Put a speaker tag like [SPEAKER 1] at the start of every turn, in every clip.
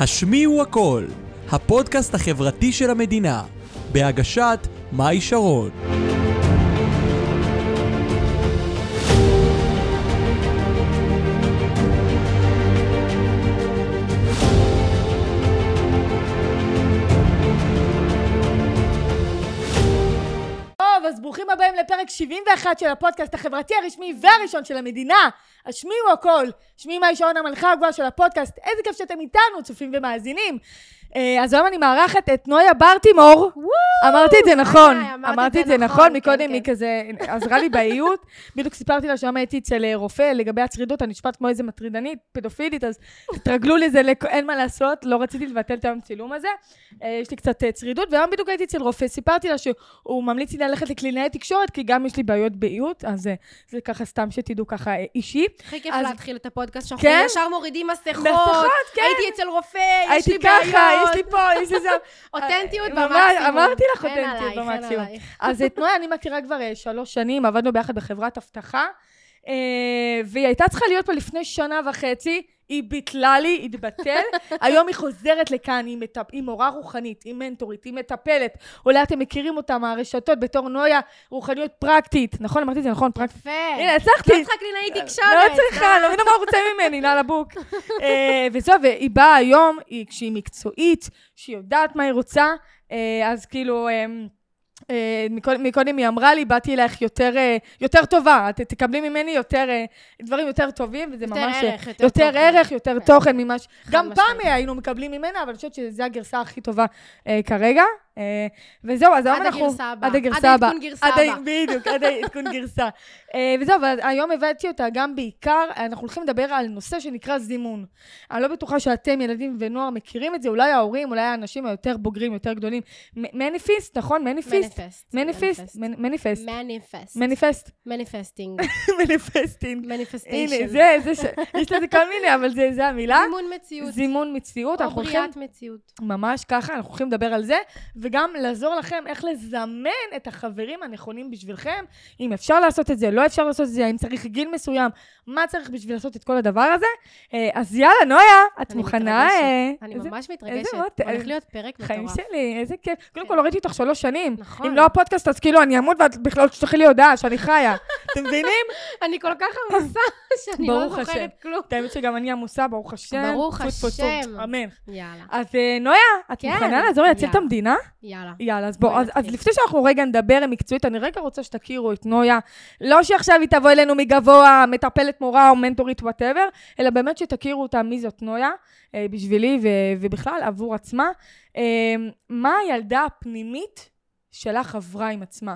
[SPEAKER 1] השמיעו הכל, הפודקאסט החברתי של המדינה, בהגשת מאי שרון.
[SPEAKER 2] טוב, אז ברוכים הבאים לפרק 71 של הפודקאסט החברתי הרשמי והראשון של המדינה. השמיעו הכל. שמי מאי שעון המלכה הגבוהה של הפודקאסט. איזה כיף שאתם איתנו, צופים ומאזינים. אה, אז היום אני מארחת את נויה ברטימור. אמרתי את זה נכון.
[SPEAKER 3] איי, אמרת
[SPEAKER 2] אמרתי את זה נכון, מקודם היא כזה עזרה לי באיות. בדיוק סיפרתי לה שהיום הייתי אצל אה, רופא לגבי הצרידות, אני נשמעת כמו איזה מטרידנית, פדופילית, אז תרגלו לזה, לק- אין מה לעשות, לא רציתי לבטל את היום צילום הזה. אה, יש לי קצת אה, צרידות, והיום בדיוק הייתי אצל רופא, סיפרתי לה שהוא ממליץ לי ללכת לקלינאי תקשורת, כי גם יש לי בעיות באיות, אז אה, זה ככה סתם שתדעו ככה אה, אישי.
[SPEAKER 3] הכי כיף
[SPEAKER 2] אז-
[SPEAKER 3] להתחיל את הפודקאסט, שאנחנו
[SPEAKER 2] כן?
[SPEAKER 3] ישר מורידים מסכות.
[SPEAKER 2] מסכות, כן.
[SPEAKER 3] הייתי אצל רופא, יש לי
[SPEAKER 2] הייתי
[SPEAKER 3] בעיות.
[SPEAKER 2] ככה, יש לי פה, יש לי זה.
[SPEAKER 3] אותנטיות
[SPEAKER 2] ממש,
[SPEAKER 3] במקסימום.
[SPEAKER 2] אמרתי לך
[SPEAKER 3] אין
[SPEAKER 2] אותנטיות
[SPEAKER 3] עלייך, אין
[SPEAKER 2] במקסימום.
[SPEAKER 3] עלייך.
[SPEAKER 2] אז את נויה אני מכירה כבר אה, שלוש שנים, עבדנו ביחד בחברת אבטחה, אה, והיא הייתה צריכה להיות פה לפני שנה וחצי, היא ביטלה לי, התבטל, היום היא חוזרת לכאן, היא, מטפ... היא מורה רוחנית, היא מנטורית, היא מטפלת, אולי אתם מכירים אותה מהרשתות בתור נויה רוחניות פרקטית, נכון? אמרתי את זה נכון, פרקטית.
[SPEAKER 3] יפה.
[SPEAKER 2] הנה,
[SPEAKER 3] לא
[SPEAKER 2] הצלחתי.
[SPEAKER 3] צריכה קלינאי תקשורת.
[SPEAKER 2] לא צריכה, לא מבינה מה הוא רוצה ממני, נעל הבוק. אה, וזהו, והיא באה היום, היא- כשהיא מקצועית, שהיא יודעת מה היא רוצה, אה, אז כאילו... אה, אה, מקוד- מקודם היא אמרה לי, באתי אלייך יותר, אה, יותר טובה, את תקבלי ממני יותר, אה, דברים יותר טובים, וזה
[SPEAKER 3] יותר
[SPEAKER 2] ממש... אה,
[SPEAKER 3] ערך, יותר
[SPEAKER 2] יותר
[SPEAKER 3] תוכן.
[SPEAKER 2] ערך, יותר
[SPEAKER 3] כן.
[SPEAKER 2] תוכן ממה ש...
[SPEAKER 3] חד
[SPEAKER 2] גם פעם
[SPEAKER 3] משמעית.
[SPEAKER 2] היינו מקבלים ממנה, אבל אני חושבת שזו הגרסה הכי טובה אה, כרגע. אה, וזהו, אז היום
[SPEAKER 3] עד
[SPEAKER 2] אנחנו...
[SPEAKER 3] הגרסה הבאה.
[SPEAKER 2] עד הגרסה
[SPEAKER 3] עד
[SPEAKER 2] הבאה.
[SPEAKER 3] העדכון גרסה
[SPEAKER 2] עד ה-
[SPEAKER 3] הבאה.
[SPEAKER 2] בדיוק, עד העדכון גרסה. אה, וזהו, אבל היום הבאתי אותה גם בעיקר, אנחנו הולכים לדבר על נושא שנקרא זימון. אני לא בטוחה שאתם, ילדים ונוער, מכירים את זה, אולי ההורים, אולי האנשים היותר בוגרים, יותר גדולים. מ- מניפיסט, נכון? מניפיסט?
[SPEAKER 3] מניפסט.
[SPEAKER 2] מניפיסט? מנ- מניפסט.
[SPEAKER 3] מניפסט.
[SPEAKER 2] מניפסט.
[SPEAKER 3] מניפסטינג.
[SPEAKER 2] מניפסטינג.
[SPEAKER 3] מניפסטיישן.
[SPEAKER 2] הנה, זה, זה, ש- יש לזה כל מיני, אבל זה זה המילה.
[SPEAKER 3] זימון מציאות.
[SPEAKER 2] זימון מציאות.
[SPEAKER 3] או
[SPEAKER 2] אנחנו הולכים
[SPEAKER 3] בריאת מציאות.
[SPEAKER 2] ממש ככה, אנחנו הולכים לדבר על זה, וגם לעזור לכם איך לזמן את החברים הנכונים בשבילכם, אם אפשר לעשות את זה, לא אפשר לעשות את זה, האם צריך גיל מסוים, מה צריך בשביל לעשות את כל הדבר הזה. אה, אז יאללה, נויה, את
[SPEAKER 3] אני
[SPEAKER 2] מוכנה?
[SPEAKER 3] מתרגשת.
[SPEAKER 2] אה,
[SPEAKER 3] אני
[SPEAKER 2] איזה-
[SPEAKER 3] ממש מתרגשת.
[SPEAKER 2] איזה מות-
[SPEAKER 3] הולך להיות פרק
[SPEAKER 2] חיים
[SPEAKER 3] מטורף.
[SPEAKER 2] שלי, איזה כיף. קודם
[SPEAKER 3] כן.
[SPEAKER 2] כל, הוריתי אותך שלוש שנים.
[SPEAKER 3] נכון.
[SPEAKER 2] אם לא הפודקאסט, אז כאילו אני אמות ואת בכלל תשלחי לי הודעה שאני חיה. אתם מבינים?
[SPEAKER 3] אני כל כך עמוסה שאני לא
[SPEAKER 2] ברוך השם.
[SPEAKER 3] זוכרת כלום.
[SPEAKER 2] את האמת שגם אני עמוסה, ברוך השם.
[SPEAKER 3] ברוך
[SPEAKER 2] טפו, טפו, טפו.
[SPEAKER 3] השם.
[SPEAKER 2] אמן.
[SPEAKER 3] יאללה,
[SPEAKER 2] אז אה, נויה, את
[SPEAKER 3] כן,
[SPEAKER 2] מוכנה לעזור לי להציל את
[SPEAKER 3] יאללה.
[SPEAKER 2] המדינה?
[SPEAKER 3] יאללה.
[SPEAKER 2] יאללה, אז בואו,
[SPEAKER 3] בואי
[SPEAKER 2] אז, אז
[SPEAKER 3] נתחיל.
[SPEAKER 2] לפני שאנחנו רגע נדבר מקצועית, אני רגע רוצה שתכירו את נויה. לא שעכשיו היא תבוא אלינו מגבוה, מטפלת מורה או מנטורית וואטאבר, אלא באמת שתכירו אותה מי זאת נויה, אה, בשבילי ו, ובכלל עבור עצמה. אה, מה הילדה הפנימית שלך עברה עם עצמה?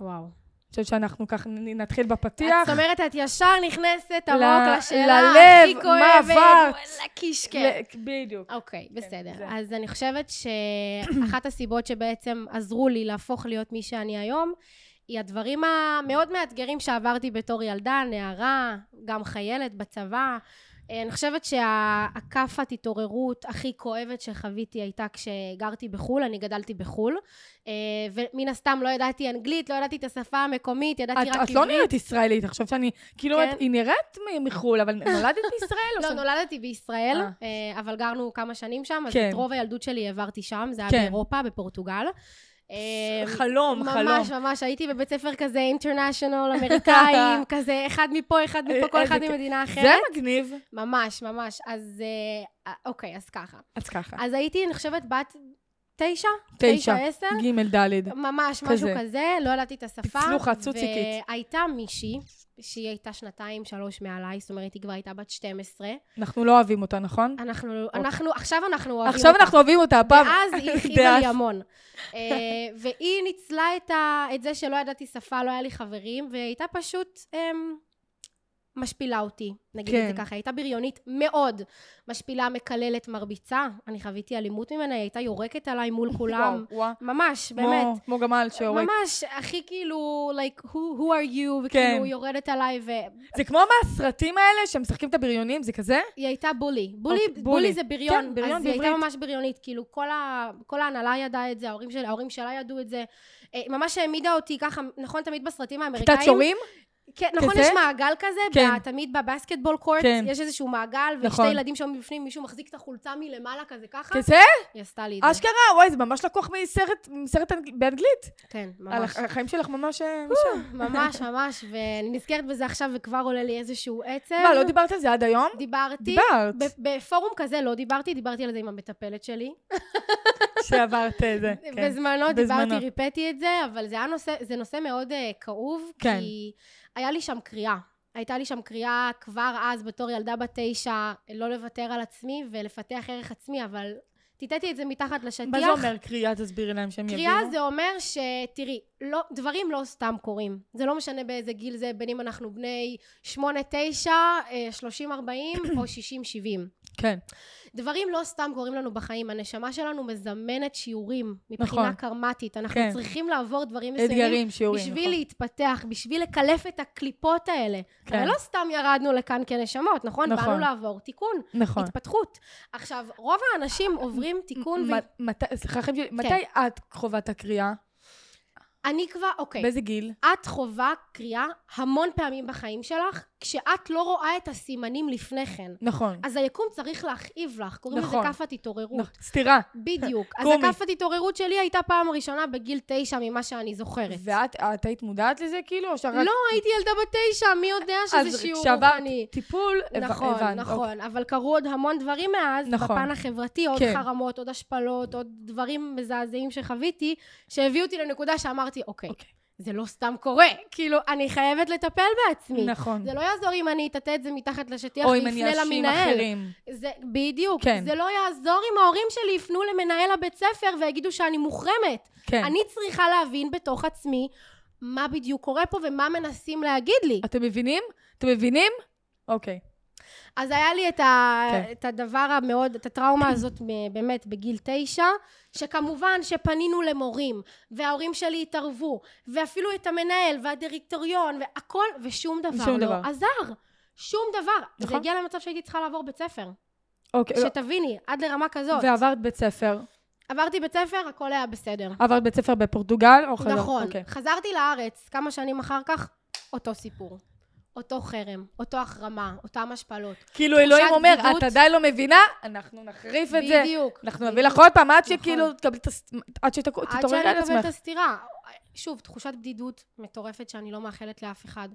[SPEAKER 2] אני
[SPEAKER 3] וואו.
[SPEAKER 2] חושבת שאנחנו ככה נ- נתחיל בפתיח.
[SPEAKER 3] את זאת אומרת, את ישר נכנסת
[SPEAKER 2] ל-
[SPEAKER 3] עמוק לשאלה
[SPEAKER 2] ללב,
[SPEAKER 3] הכי
[SPEAKER 2] מה
[SPEAKER 3] כואבת.
[SPEAKER 2] עברת?
[SPEAKER 3] וואלה, קישקע.
[SPEAKER 2] ל- בדיוק.
[SPEAKER 3] אוקיי, בסדר.
[SPEAKER 2] זה.
[SPEAKER 3] אז אני חושבת שאחת הסיבות שבעצם עזרו לי להפוך להיות מי שאני היום, היא הדברים המאוד מאתגרים שעברתי בתור ילדה, נערה, גם חיילת בצבא. אה, אני חושבת שהכאפת התעוררות הכי כואבת שחוויתי הייתה כשגרתי בחו"ל, אני גדלתי בחו"ל. אה, ומן הסתם לא ידעתי אנגלית, לא ידעתי את השפה המקומית,
[SPEAKER 2] את,
[SPEAKER 3] ידעתי רק עברית.
[SPEAKER 2] את לא נראית ישראלית, עכשיו שאני, כאילו,
[SPEAKER 3] כן.
[SPEAKER 2] את, היא נראית מ- מחו"ל, אבל נולדת בישראל? או
[SPEAKER 3] לא,
[SPEAKER 2] ש-
[SPEAKER 3] נולדתי בישראל,
[SPEAKER 2] אה.
[SPEAKER 3] אה, אבל גרנו כמה שנים שם, אז
[SPEAKER 2] כן.
[SPEAKER 3] את רוב הילדות שלי העברתי שם, זה היה
[SPEAKER 2] כן.
[SPEAKER 3] באירופה, בפורטוגל. אה,
[SPEAKER 2] חלום, חלום.
[SPEAKER 3] ממש, ממש, הייתי בבית ספר כזה אינטרנשיונל, אמריקאים, כזה אחד מפה, אחד מפה, כל אחד
[SPEAKER 2] איזה כיף.
[SPEAKER 3] ממדינה
[SPEAKER 2] זה
[SPEAKER 3] אחרת.
[SPEAKER 2] מגניב.
[SPEAKER 3] ממש, ממש. אז אה, אוקיי, אז ככה.
[SPEAKER 2] אז ככה.
[SPEAKER 3] אז הייתי, אני חושבת, בת תשע?
[SPEAKER 2] תשע.
[SPEAKER 3] עשר?
[SPEAKER 2] ג' ד'.
[SPEAKER 3] ממש, משהו
[SPEAKER 2] כזה.
[SPEAKER 3] כזה, לא ידעתי את השפה.
[SPEAKER 2] פצלוחה, צוציקית.
[SPEAKER 3] והייתה מישהי, שהיא הייתה שנתיים, שלוש מעליי, זאת אומרת, היא כבר הייתה בת 12.
[SPEAKER 2] אנחנו לא אוהבים אותה, נכון?
[SPEAKER 3] אנחנו, אנחנו, עכשיו אנחנו אה, אוהבים
[SPEAKER 2] עכשיו
[SPEAKER 3] אותה.
[SPEAKER 2] אנחנו אוהבים אותה, הפעם.
[SPEAKER 3] ואז היא
[SPEAKER 2] דאז.
[SPEAKER 3] הרחיבה לי המון. אה, והיא ניצלה את, ה, את זה שלא ידעתי שפה, לא היה לי חברים, והיא הייתה פשוט אמ, משפילה אותי, נגיד את
[SPEAKER 2] כן.
[SPEAKER 3] זה ככה. היא הייתה בריונית מאוד משפילה, מקללת, מרביצה. אני חוויתי אלימות ממנה, היא הייתה יורקת עליי מול כולם.
[SPEAKER 2] וואו, וואו.
[SPEAKER 3] ממש,
[SPEAKER 2] כמו-
[SPEAKER 3] באמת.
[SPEAKER 2] כמו גמל שיורק.
[SPEAKER 3] ממש, הכי כאילו, like, who, who are
[SPEAKER 2] כן.
[SPEAKER 3] you, וכאילו יורדת עליי, והיא
[SPEAKER 2] זה כמו מהסרטים האלה, שהם משחקים את הבריונים, זה כזה?
[SPEAKER 3] הייתה בולי. בולי,
[SPEAKER 2] אוקיי,
[SPEAKER 3] בולי,
[SPEAKER 2] בולי.
[SPEAKER 3] זה בריון,
[SPEAKER 2] כן, בריון
[SPEAKER 3] אז היא הייתה
[SPEAKER 2] בעברית.
[SPEAKER 3] ממש בריונית, כאילו כל, ה, כל ההנהלה ידעה את זה, ההורים, של, ההורים שלה ידעו את זה, אה, ממש העמידה אותי ככה, נכון תמיד בסרטים האמריקאים?
[SPEAKER 2] כיתת שורים?
[SPEAKER 3] כן, נכון,
[SPEAKER 2] כזה?
[SPEAKER 3] יש מעגל כזה,
[SPEAKER 2] כן.
[SPEAKER 3] ב- תמיד בבסקטבול קורט,
[SPEAKER 2] כן.
[SPEAKER 3] יש איזשהו מעגל,
[SPEAKER 2] נכון.
[SPEAKER 3] ושתי ילדים שעומדים בפנים, מישהו מחזיק את החולצה מלמעלה כזה ככה,
[SPEAKER 2] כזה?
[SPEAKER 3] היא עשתה לי את זה.
[SPEAKER 2] אשכרה, וואי, זה ממש לקוח מסרט, מסרט אנג- באנגלית.
[SPEAKER 3] כן,
[SPEAKER 2] על
[SPEAKER 3] ממש.
[SPEAKER 2] הח- החיים שלך ממש... אה, משם.
[SPEAKER 3] ממש, ממש, ואני נזכרת בזה עכשיו וכבר עולה לי איזשהו עצב.
[SPEAKER 2] מה, לא דיברת על זה עד היום?
[SPEAKER 3] דיברתי.
[SPEAKER 2] דיברת,
[SPEAKER 3] כן. ב- בפורום כזה לא דיברתי, דיברתי על זה עם המטפלת שלי.
[SPEAKER 2] שעברת אה, זה. כן.
[SPEAKER 3] בזמנו
[SPEAKER 2] בזמנו.
[SPEAKER 3] דיברתי, ריפאתי את זה, אבל זה היה נושא, זה נושא מאוד אה, כאוב,
[SPEAKER 2] כן.
[SPEAKER 3] כי היה לי שם קריאה. הייתה לי שם קריאה כבר אז, בתור ילדה בת תשע, לא לוותר על עצמי ולפתח ערך עצמי, אבל טיטאתי את זה מתחת לשטיח.
[SPEAKER 2] מה זה אומר קריאה? תסבירי להם שהם יבינו.
[SPEAKER 3] קריאה זה אומר שתראי, לא, דברים לא סתם קורים. זה לא משנה באיזה גיל זה, בין אם אנחנו בני שמונה, תשע, אה, שלושים, ארבעים או שישים, שבעים.
[SPEAKER 2] כן.
[SPEAKER 3] דברים לא סתם קורים לנו בחיים, הנשמה שלנו מזמנת שיעורים מבחינה
[SPEAKER 2] נכון.
[SPEAKER 3] נכון. קרמטית. אנחנו
[SPEAKER 2] כן.
[SPEAKER 3] כן. צריכים לעבור דברים מסוימים.
[SPEAKER 2] אתגרים, שיעורים.
[SPEAKER 3] בשביל
[SPEAKER 2] נכון.
[SPEAKER 3] להתפתח, בשביל לקלף את הקליפות האלה.
[SPEAKER 2] כן.
[SPEAKER 3] כן. הרי לא סתם ירדנו לכאן כנשמות, נכון?
[SPEAKER 2] נכון.
[SPEAKER 3] באנו לעבור תיקון,
[SPEAKER 2] נכון.
[SPEAKER 3] התפתחות. עכשיו, רוב האנשים עוברים תיקון, כן. ו...
[SPEAKER 2] מ- מתי- סליחה, חיים שלי, מתי את חווה את הקריאה?
[SPEAKER 3] אני כבר, אוקיי.
[SPEAKER 2] באיזה גיל?
[SPEAKER 3] את חווה קריאה המון פעמים בחיים שלך, כשאת לא רואה את הסימנים לפני כן.
[SPEAKER 2] נכון.
[SPEAKER 3] אז היקום צריך להכאיב לך, קוראים
[SPEAKER 2] נכון.
[SPEAKER 3] לזה כאפת התעוררות.
[SPEAKER 2] נכון. סתירה.
[SPEAKER 3] בדיוק. אז
[SPEAKER 2] קומי.
[SPEAKER 3] הכאפת התעוררות שלי הייתה פעם ראשונה בגיל תשע ממה שאני זוכרת.
[SPEAKER 2] ואת את היית מודעת לזה כאילו? או שרק...
[SPEAKER 3] לא, הייתי ילדה בת תשע, מי יודע שזה שיעור
[SPEAKER 2] כשעברת
[SPEAKER 3] רוחני.
[SPEAKER 2] טיפול, הבנ-
[SPEAKER 3] נכון,
[SPEAKER 2] הבנת. אוקיי.
[SPEAKER 3] נכון, אבל קרו עוד המון דברים מאז,
[SPEAKER 2] נכון.
[SPEAKER 3] בפן החברתי, עוד
[SPEAKER 2] כן.
[SPEAKER 3] חרמות, עוד השפלות, עוד דברים מזעזעים שחוויתי, שהביאו אותי לנקודה שאמרתי, אוקיי,
[SPEAKER 2] אוקיי.
[SPEAKER 3] זה לא סתם קורה, כאילו, אני חייבת לטפל בעצמי.
[SPEAKER 2] נכון.
[SPEAKER 3] זה לא יעזור אם אני אטאטא את זה מתחת לשטיח
[SPEAKER 2] או אם אני
[SPEAKER 3] ואפנה
[SPEAKER 2] אשים
[SPEAKER 3] למנהל.
[SPEAKER 2] אחרים.
[SPEAKER 3] זה, בדיוק.
[SPEAKER 2] כן.
[SPEAKER 3] זה לא יעזור אם ההורים שלי יפנו למנהל הבית ספר ויגידו שאני מוחרמת.
[SPEAKER 2] כן.
[SPEAKER 3] אני צריכה להבין בתוך עצמי מה בדיוק קורה פה ומה מנסים להגיד לי.
[SPEAKER 2] אתם מבינים? אתם מבינים? אוקיי.
[SPEAKER 3] אז היה לי את, ה...
[SPEAKER 2] כן.
[SPEAKER 3] את הדבר המאוד, את הטראומה הזאת מ- באמת בגיל תשע, שכמובן שפנינו למורים, וההורים שלי התערבו, ואפילו את המנהל והדירקטוריון, והכל, ושום דבר
[SPEAKER 2] שום
[SPEAKER 3] לא
[SPEAKER 2] דבר.
[SPEAKER 3] עזר. שום דבר.
[SPEAKER 2] נכון.
[SPEAKER 3] זה הגיע למצב שהייתי צריכה לעבור בית ספר.
[SPEAKER 2] אוקיי. לא.
[SPEAKER 3] שתביני, עד לרמה כזאת.
[SPEAKER 2] ועברת בית ספר.
[SPEAKER 3] עברתי בית ספר, הכל היה בסדר.
[SPEAKER 2] עברת בית ספר בפורטוגל או חזרת?
[SPEAKER 3] נכון.
[SPEAKER 2] אוקיי.
[SPEAKER 3] חזרתי לארץ, כמה שנים אחר כך, אותו סיפור. אותו חרם, אותו החרמה, אותם השפלות.
[SPEAKER 2] כאילו אלוהים
[SPEAKER 3] תחושת
[SPEAKER 2] אומר, את
[SPEAKER 3] בדידות.
[SPEAKER 2] עדיין לא מבינה, אנחנו נחריף את זה.
[SPEAKER 3] בדיוק.
[SPEAKER 2] אנחנו
[SPEAKER 3] בדיוק.
[SPEAKER 2] נביא לך עוד פעם עד
[SPEAKER 3] נכון.
[SPEAKER 2] שכאילו תקבלי את הס... עד
[SPEAKER 3] עד
[SPEAKER 2] שתתעוררי על
[SPEAKER 3] שאני אקבל את
[SPEAKER 2] עצמך.
[SPEAKER 3] הסטירה. שוב, תחושת בדידות מטורפת שאני לא מאחלת לאף אחד.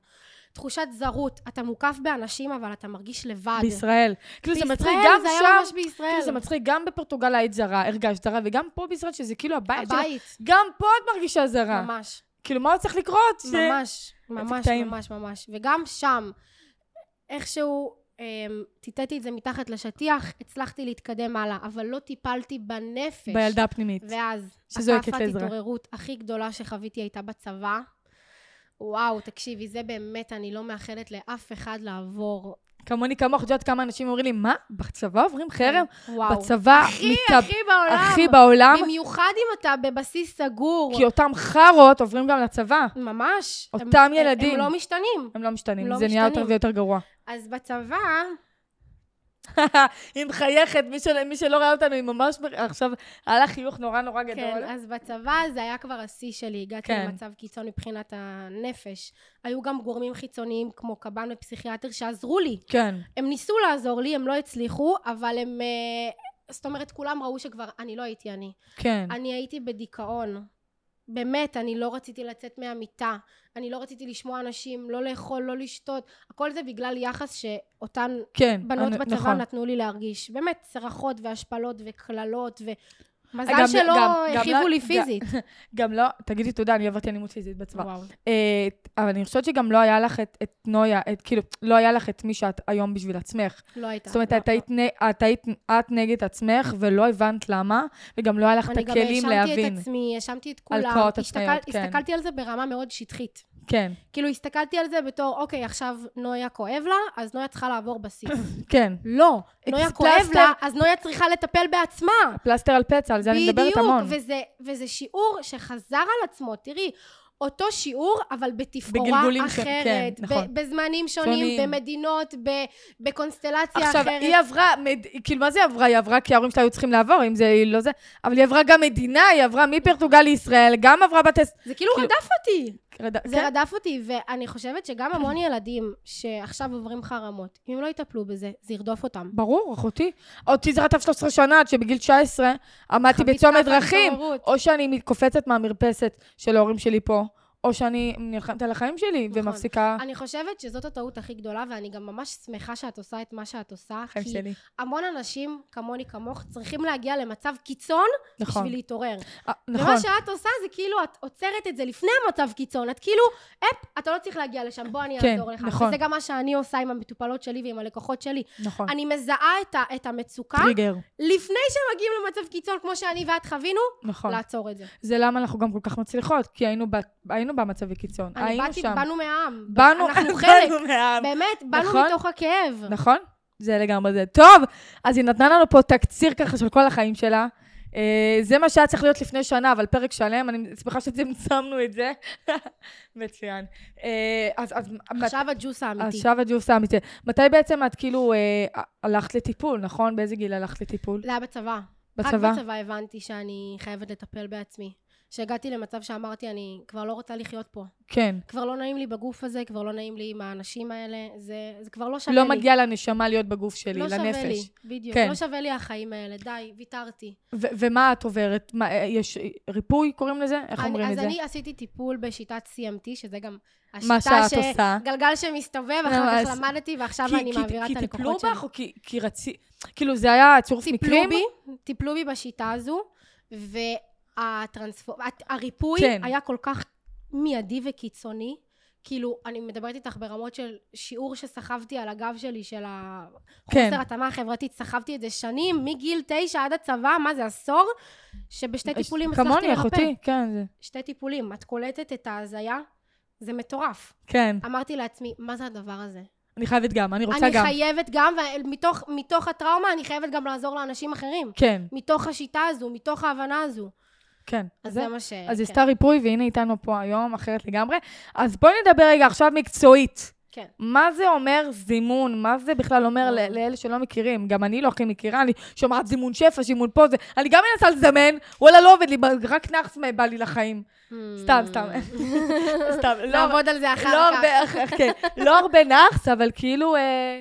[SPEAKER 3] תחושת זרות, אתה מוקף באנשים, אבל אתה מרגיש לבד.
[SPEAKER 2] בישראל. כאילו זה מצחיק
[SPEAKER 3] בישראל,
[SPEAKER 2] גם
[SPEAKER 3] זה היה ממש
[SPEAKER 2] שם,
[SPEAKER 3] בישראל.
[SPEAKER 2] כאילו זה מצחיק גם בפורטוגל היית זרה, הרגשת זרה, וגם פה בישראל שזה כאילו הבית שלך.
[SPEAKER 3] הבית,
[SPEAKER 2] גם פה את מרגישה זרה.
[SPEAKER 3] ממש.
[SPEAKER 2] כאילו מה עוד צריך לקרות? ש-
[SPEAKER 3] ממש, ממש,
[SPEAKER 2] קטעים.
[SPEAKER 3] ממש, ממש. וגם שם, איכשהו אמ, טיטאתי את זה מתחת לשטיח, הצלחתי להתקדם הלאה, אבל לא טיפלתי בנפש.
[SPEAKER 2] בילדה הפנימית.
[SPEAKER 3] ואז,
[SPEAKER 2] שזועקת
[SPEAKER 3] הכאפת
[SPEAKER 2] לעזרה.
[SPEAKER 3] התעוררות הכי גדולה שחוויתי הייתה בצבא. וואו, תקשיבי, זה באמת, אני לא מאחלת לאף אחד לעבור.
[SPEAKER 2] כמוני כמוך, את יודעת כמה אנשים אומרים לי, מה? בצבא עוברים חרם?
[SPEAKER 3] כן. וואו.
[SPEAKER 2] בצבא
[SPEAKER 3] הכי,
[SPEAKER 2] מתאב-
[SPEAKER 3] הכי בעולם.
[SPEAKER 2] הכי בעולם,
[SPEAKER 3] במיוחד אם אתה בבסיס סגור.
[SPEAKER 2] כי אותם חארות עוברים גם לצבא.
[SPEAKER 3] ממש. הם-
[SPEAKER 2] אותם
[SPEAKER 3] הם-
[SPEAKER 2] ילדים.
[SPEAKER 3] הם לא משתנים.
[SPEAKER 2] הם לא משתנים,
[SPEAKER 3] הם לא
[SPEAKER 2] זה נהיה יותר
[SPEAKER 3] משתנים.
[SPEAKER 2] ויותר גרוע.
[SPEAKER 3] אז בצבא,
[SPEAKER 2] היא מחייכת, מי, של... מי שלא ראה אותנו, היא ממש... מ- עכשיו, היה לה חיוך נורא נורא גדול.
[SPEAKER 3] כן, אז בצבא זה היה כבר השיא שלי, הגעתי
[SPEAKER 2] כן.
[SPEAKER 3] למצב קיצון מבחינת הנפש. היו גם גורמים חיצוניים כמו קב"ן ופסיכיאטר שעזרו לי.
[SPEAKER 2] כן.
[SPEAKER 3] הם ניסו לעזור לי, הם לא הצליחו, אבל הם... אה, זאת אומרת, כולם ראו שכבר אני לא הייתי אני.
[SPEAKER 2] כן.
[SPEAKER 3] אני הייתי בדיכאון. באמת, אני לא רציתי לצאת מהמיטה. אני לא רציתי לשמוע אנשים, לא לאכול, לא לשתות. הכל זה בגלל יחס שאותן
[SPEAKER 2] כן.
[SPEAKER 3] בנות
[SPEAKER 2] אני-
[SPEAKER 3] בצבא
[SPEAKER 2] נכון.
[SPEAKER 3] נתנו לי להרגיש. באמת, צרחות והשפלות וקללות ו... מזל
[SPEAKER 2] גם-
[SPEAKER 3] שלא
[SPEAKER 2] גם- גם
[SPEAKER 3] הרחיבו
[SPEAKER 2] לא-
[SPEAKER 3] לי
[SPEAKER 2] גם-
[SPEAKER 3] פיזית.
[SPEAKER 2] גם לא, תגידי תודה, אני עברתי אלימות פיזית בצבא.
[SPEAKER 3] וואו.
[SPEAKER 2] אה, אבל אני חושבת שגם לא היה לך את, את נויה, את, כאילו, לא היה לך את מי שאת היום בשביל עצמך.
[SPEAKER 3] לא הייתה.
[SPEAKER 2] זאת אומרת,
[SPEAKER 3] לא,
[SPEAKER 2] את היית, נ- את היית את נגד עצמך, ולא הבנת למה, וגם לא היה לך
[SPEAKER 3] לא.
[SPEAKER 2] את הכלים
[SPEAKER 3] אני גם האשמתי
[SPEAKER 2] להבין.
[SPEAKER 3] את עצמי, האשמתי את
[SPEAKER 2] על
[SPEAKER 3] כולם.
[SPEAKER 2] קרעות
[SPEAKER 3] הסתכל-
[SPEAKER 2] עצמיות, כן.
[SPEAKER 3] הסתכלתי על זה ברמה מאוד שטחית.
[SPEAKER 2] כן,
[SPEAKER 3] כאילו, הסתכלתי על זה בתור, אוקיי, עכשיו נויה כואב לה, אז נויה צריכה לעבור בסיס.
[SPEAKER 2] כן.
[SPEAKER 3] לא, נויה כואב
[SPEAKER 2] פלסטר.
[SPEAKER 3] לה, אז נויה צריכה לטפל בעצמה.
[SPEAKER 2] פלסטר על פצע, על זה אני מדברת המון.
[SPEAKER 3] בדיוק, וזה, וזה שיעור שחזר על עצמו. תראי, אותו שיעור, אבל בתפאורה
[SPEAKER 2] בגלגולים ש-
[SPEAKER 3] אחרת,
[SPEAKER 2] כן,
[SPEAKER 3] ב-
[SPEAKER 2] נכון.
[SPEAKER 3] בזמנים שונים,
[SPEAKER 2] שונים.
[SPEAKER 3] במדינות, ב- בקונסטלציה
[SPEAKER 2] עכשיו,
[SPEAKER 3] אחרת.
[SPEAKER 2] היא עברה, מד- כאילו, מה זה עברה? היא עברה כי ההורים שלה היו צריכים לעבור, אם זה היא לא זה, אבל היא עברה גם מדינה, היא עברה מפורטוגל לישראל, גם עברה בטסט.
[SPEAKER 3] זה כאילו
[SPEAKER 2] כאילו-
[SPEAKER 3] רדף אותי.
[SPEAKER 2] רד-
[SPEAKER 3] זה
[SPEAKER 2] כן?
[SPEAKER 3] רדף אותי, ואני חושבת שגם המון ילדים שעכשיו עוברים חרמות, אם הם לא יטפלו בזה, זה ירדוף אותם.
[SPEAKER 2] ברור, אחותי. אותי זה רדף 13 שנה, עד שבגיל 19 עמדתי
[SPEAKER 3] חביתה לא
[SPEAKER 2] בצומת דרכים.
[SPEAKER 3] והתעוררות.
[SPEAKER 2] או שאני קופצת מהמרפסת של ההורים שלי פה, או שאני נלחמת על החיים שלי
[SPEAKER 3] נכון.
[SPEAKER 2] ומפסיקה...
[SPEAKER 3] אני חושבת שזאת הטעות הכי גדולה, ואני גם ממש שמחה שאת עושה את מה שאת עושה,
[SPEAKER 2] החיים
[SPEAKER 3] כי
[SPEAKER 2] שלי.
[SPEAKER 3] המון אנשים, כמוני כמוך, צריכים להגיע למצב קיצון
[SPEAKER 2] נכון.
[SPEAKER 3] בשביל להתעורר.
[SPEAKER 2] אה, נכון.
[SPEAKER 3] ומה שאת עושה זה כאילו, את עוצרת את זה לפני המצב קיצון. את כאילו, אפ, אתה לא צריך להגיע לשם, בוא אני
[SPEAKER 2] כן,
[SPEAKER 3] אעזור לך.
[SPEAKER 2] נכון.
[SPEAKER 3] וזה גם מה שאני עושה עם המטופלות שלי ועם הלקוחות שלי.
[SPEAKER 2] נכון.
[SPEAKER 3] אני מזהה את, ה, את המצוקה
[SPEAKER 2] טריגר.
[SPEAKER 3] לפני שמגיעים למצב קיצון, כמו שאני ואת חווינו,
[SPEAKER 2] נכון.
[SPEAKER 3] לעצור את זה.
[SPEAKER 2] זה למה אנחנו גם כל כך מצליחות, כי היינו ב- היינו במצבי קיצון.
[SPEAKER 3] אני
[SPEAKER 2] היינו
[SPEAKER 3] באתי,
[SPEAKER 2] שם.
[SPEAKER 3] באנו מהעם.
[SPEAKER 2] באנו,
[SPEAKER 3] אנחנו חלק.
[SPEAKER 2] באנו מהעם.
[SPEAKER 3] באמת, באנו
[SPEAKER 2] נכון.
[SPEAKER 3] מתוך הכאב.
[SPEAKER 2] נכון? זה לגמרי זה. טוב, אז היא נתנה לנו פה תקציר ככה של כל החיים שלה. אה, זה מה שהיה צריך להיות לפני שנה, אבל פרק שלם, אני שמחה שצמצמנו את זה. מצוין. אה, אז אז מת-
[SPEAKER 3] עכשיו הג'וס האמיתי.
[SPEAKER 2] עכשיו הג'וס האמיתי. מתי בעצם את כאילו אה, הלכת לטיפול, נכון? באיזה גיל הלכת לטיפול?
[SPEAKER 3] זה היה בצבא.
[SPEAKER 2] בצבא?
[SPEAKER 3] רק בצבא הבנתי שאני חייבת לטפל בעצמי. שהגעתי למצב שאמרתי, אני כבר לא רוצה לחיות פה.
[SPEAKER 2] כן.
[SPEAKER 3] כבר לא נעים לי בגוף הזה, כבר לא נעים לי עם האנשים האלה, זה, זה כבר לא שווה
[SPEAKER 2] לא
[SPEAKER 3] לי.
[SPEAKER 2] מגיע לנשמה להיות בגוף שלי,
[SPEAKER 3] לא
[SPEAKER 2] לנפש.
[SPEAKER 3] שווה לי, בדיוק.
[SPEAKER 2] כן.
[SPEAKER 3] לא שווה לי החיים האלה, די, ויתרתי.
[SPEAKER 2] ו- ומה את עוברת? מה, אה, יש ריפוי קוראים לזה? איך
[SPEAKER 3] אני-
[SPEAKER 2] אומרים את
[SPEAKER 3] אז
[SPEAKER 2] זה?
[SPEAKER 3] אני עשיתי טיפול בשיטת CMT, שזה גם השיטה
[SPEAKER 2] מה שאת
[SPEAKER 3] ש...
[SPEAKER 2] עושה.
[SPEAKER 3] גלגל שמסתובב, אחר
[SPEAKER 2] ממש.
[SPEAKER 3] כך למדתי, ועכשיו
[SPEAKER 2] כי-
[SPEAKER 3] אני
[SPEAKER 2] כי-
[SPEAKER 3] מעבירה את
[SPEAKER 2] כי טיפלו
[SPEAKER 3] הלקוחות שלי.
[SPEAKER 2] בך, או כי- כי רצי... כאילו, זה היה צירוף
[SPEAKER 3] טיפלו
[SPEAKER 2] מקרים?
[SPEAKER 3] בי, טיפלו בי בשיטה הזו, והריפוי
[SPEAKER 2] כן.
[SPEAKER 3] היה כל כך מיידי וקיצוני. כאילו, אני מדברת איתך ברמות של שיעור שסחבתי על הגב שלי, של
[SPEAKER 2] כן.
[SPEAKER 3] החוסר התאמה החברתית, סחבתי את זה שנים, מגיל תשע עד הצבא, מה זה, עשור? שבשתי טיפולים הצלחתי לרפא.
[SPEAKER 2] כמוני, אחותי, כן, זה...
[SPEAKER 3] שתי טיפולים. את קולטת את ההזיה? זה מטורף.
[SPEAKER 2] כן.
[SPEAKER 3] אמרתי לעצמי, מה זה הדבר הזה?
[SPEAKER 2] אני חייבת גם, אני רוצה
[SPEAKER 3] אני
[SPEAKER 2] גם.
[SPEAKER 3] חייבת גם, ומתוך מתוך הטראומה אני חייבת גם לעזור לאנשים אחרים.
[SPEAKER 2] כן,
[SPEAKER 3] מתוך השיטה הזו, מתוך ההבנה הזו.
[SPEAKER 2] כן.
[SPEAKER 3] אז זה מה ש...
[SPEAKER 2] אז
[SPEAKER 3] כן.
[SPEAKER 2] היא עשתה ריפוי, והנה איתנו פה היום, אחרת לגמרי. אז בואי נדבר רגע עכשיו מקצועית.
[SPEAKER 3] כן.
[SPEAKER 2] מה זה אומר זימון? מה זה בכלל אומר
[SPEAKER 3] וואו.
[SPEAKER 2] ל- לאלה שלא מכירים? גם אני לא הכי מכירה, אני שומעת זימון שפע, זימון פה, זה... אני גם מנסה לזמן, וואלה, לא עובד לי, רק נאחס בא לי לחיים.
[SPEAKER 3] Mm.
[SPEAKER 2] סתם, סתם. סתם, לא...
[SPEAKER 3] נעבוד על זה אחר
[SPEAKER 2] לא
[SPEAKER 3] כך.
[SPEAKER 2] הרבה, כן, לא הרבה נאחס, אבל כאילו... אה,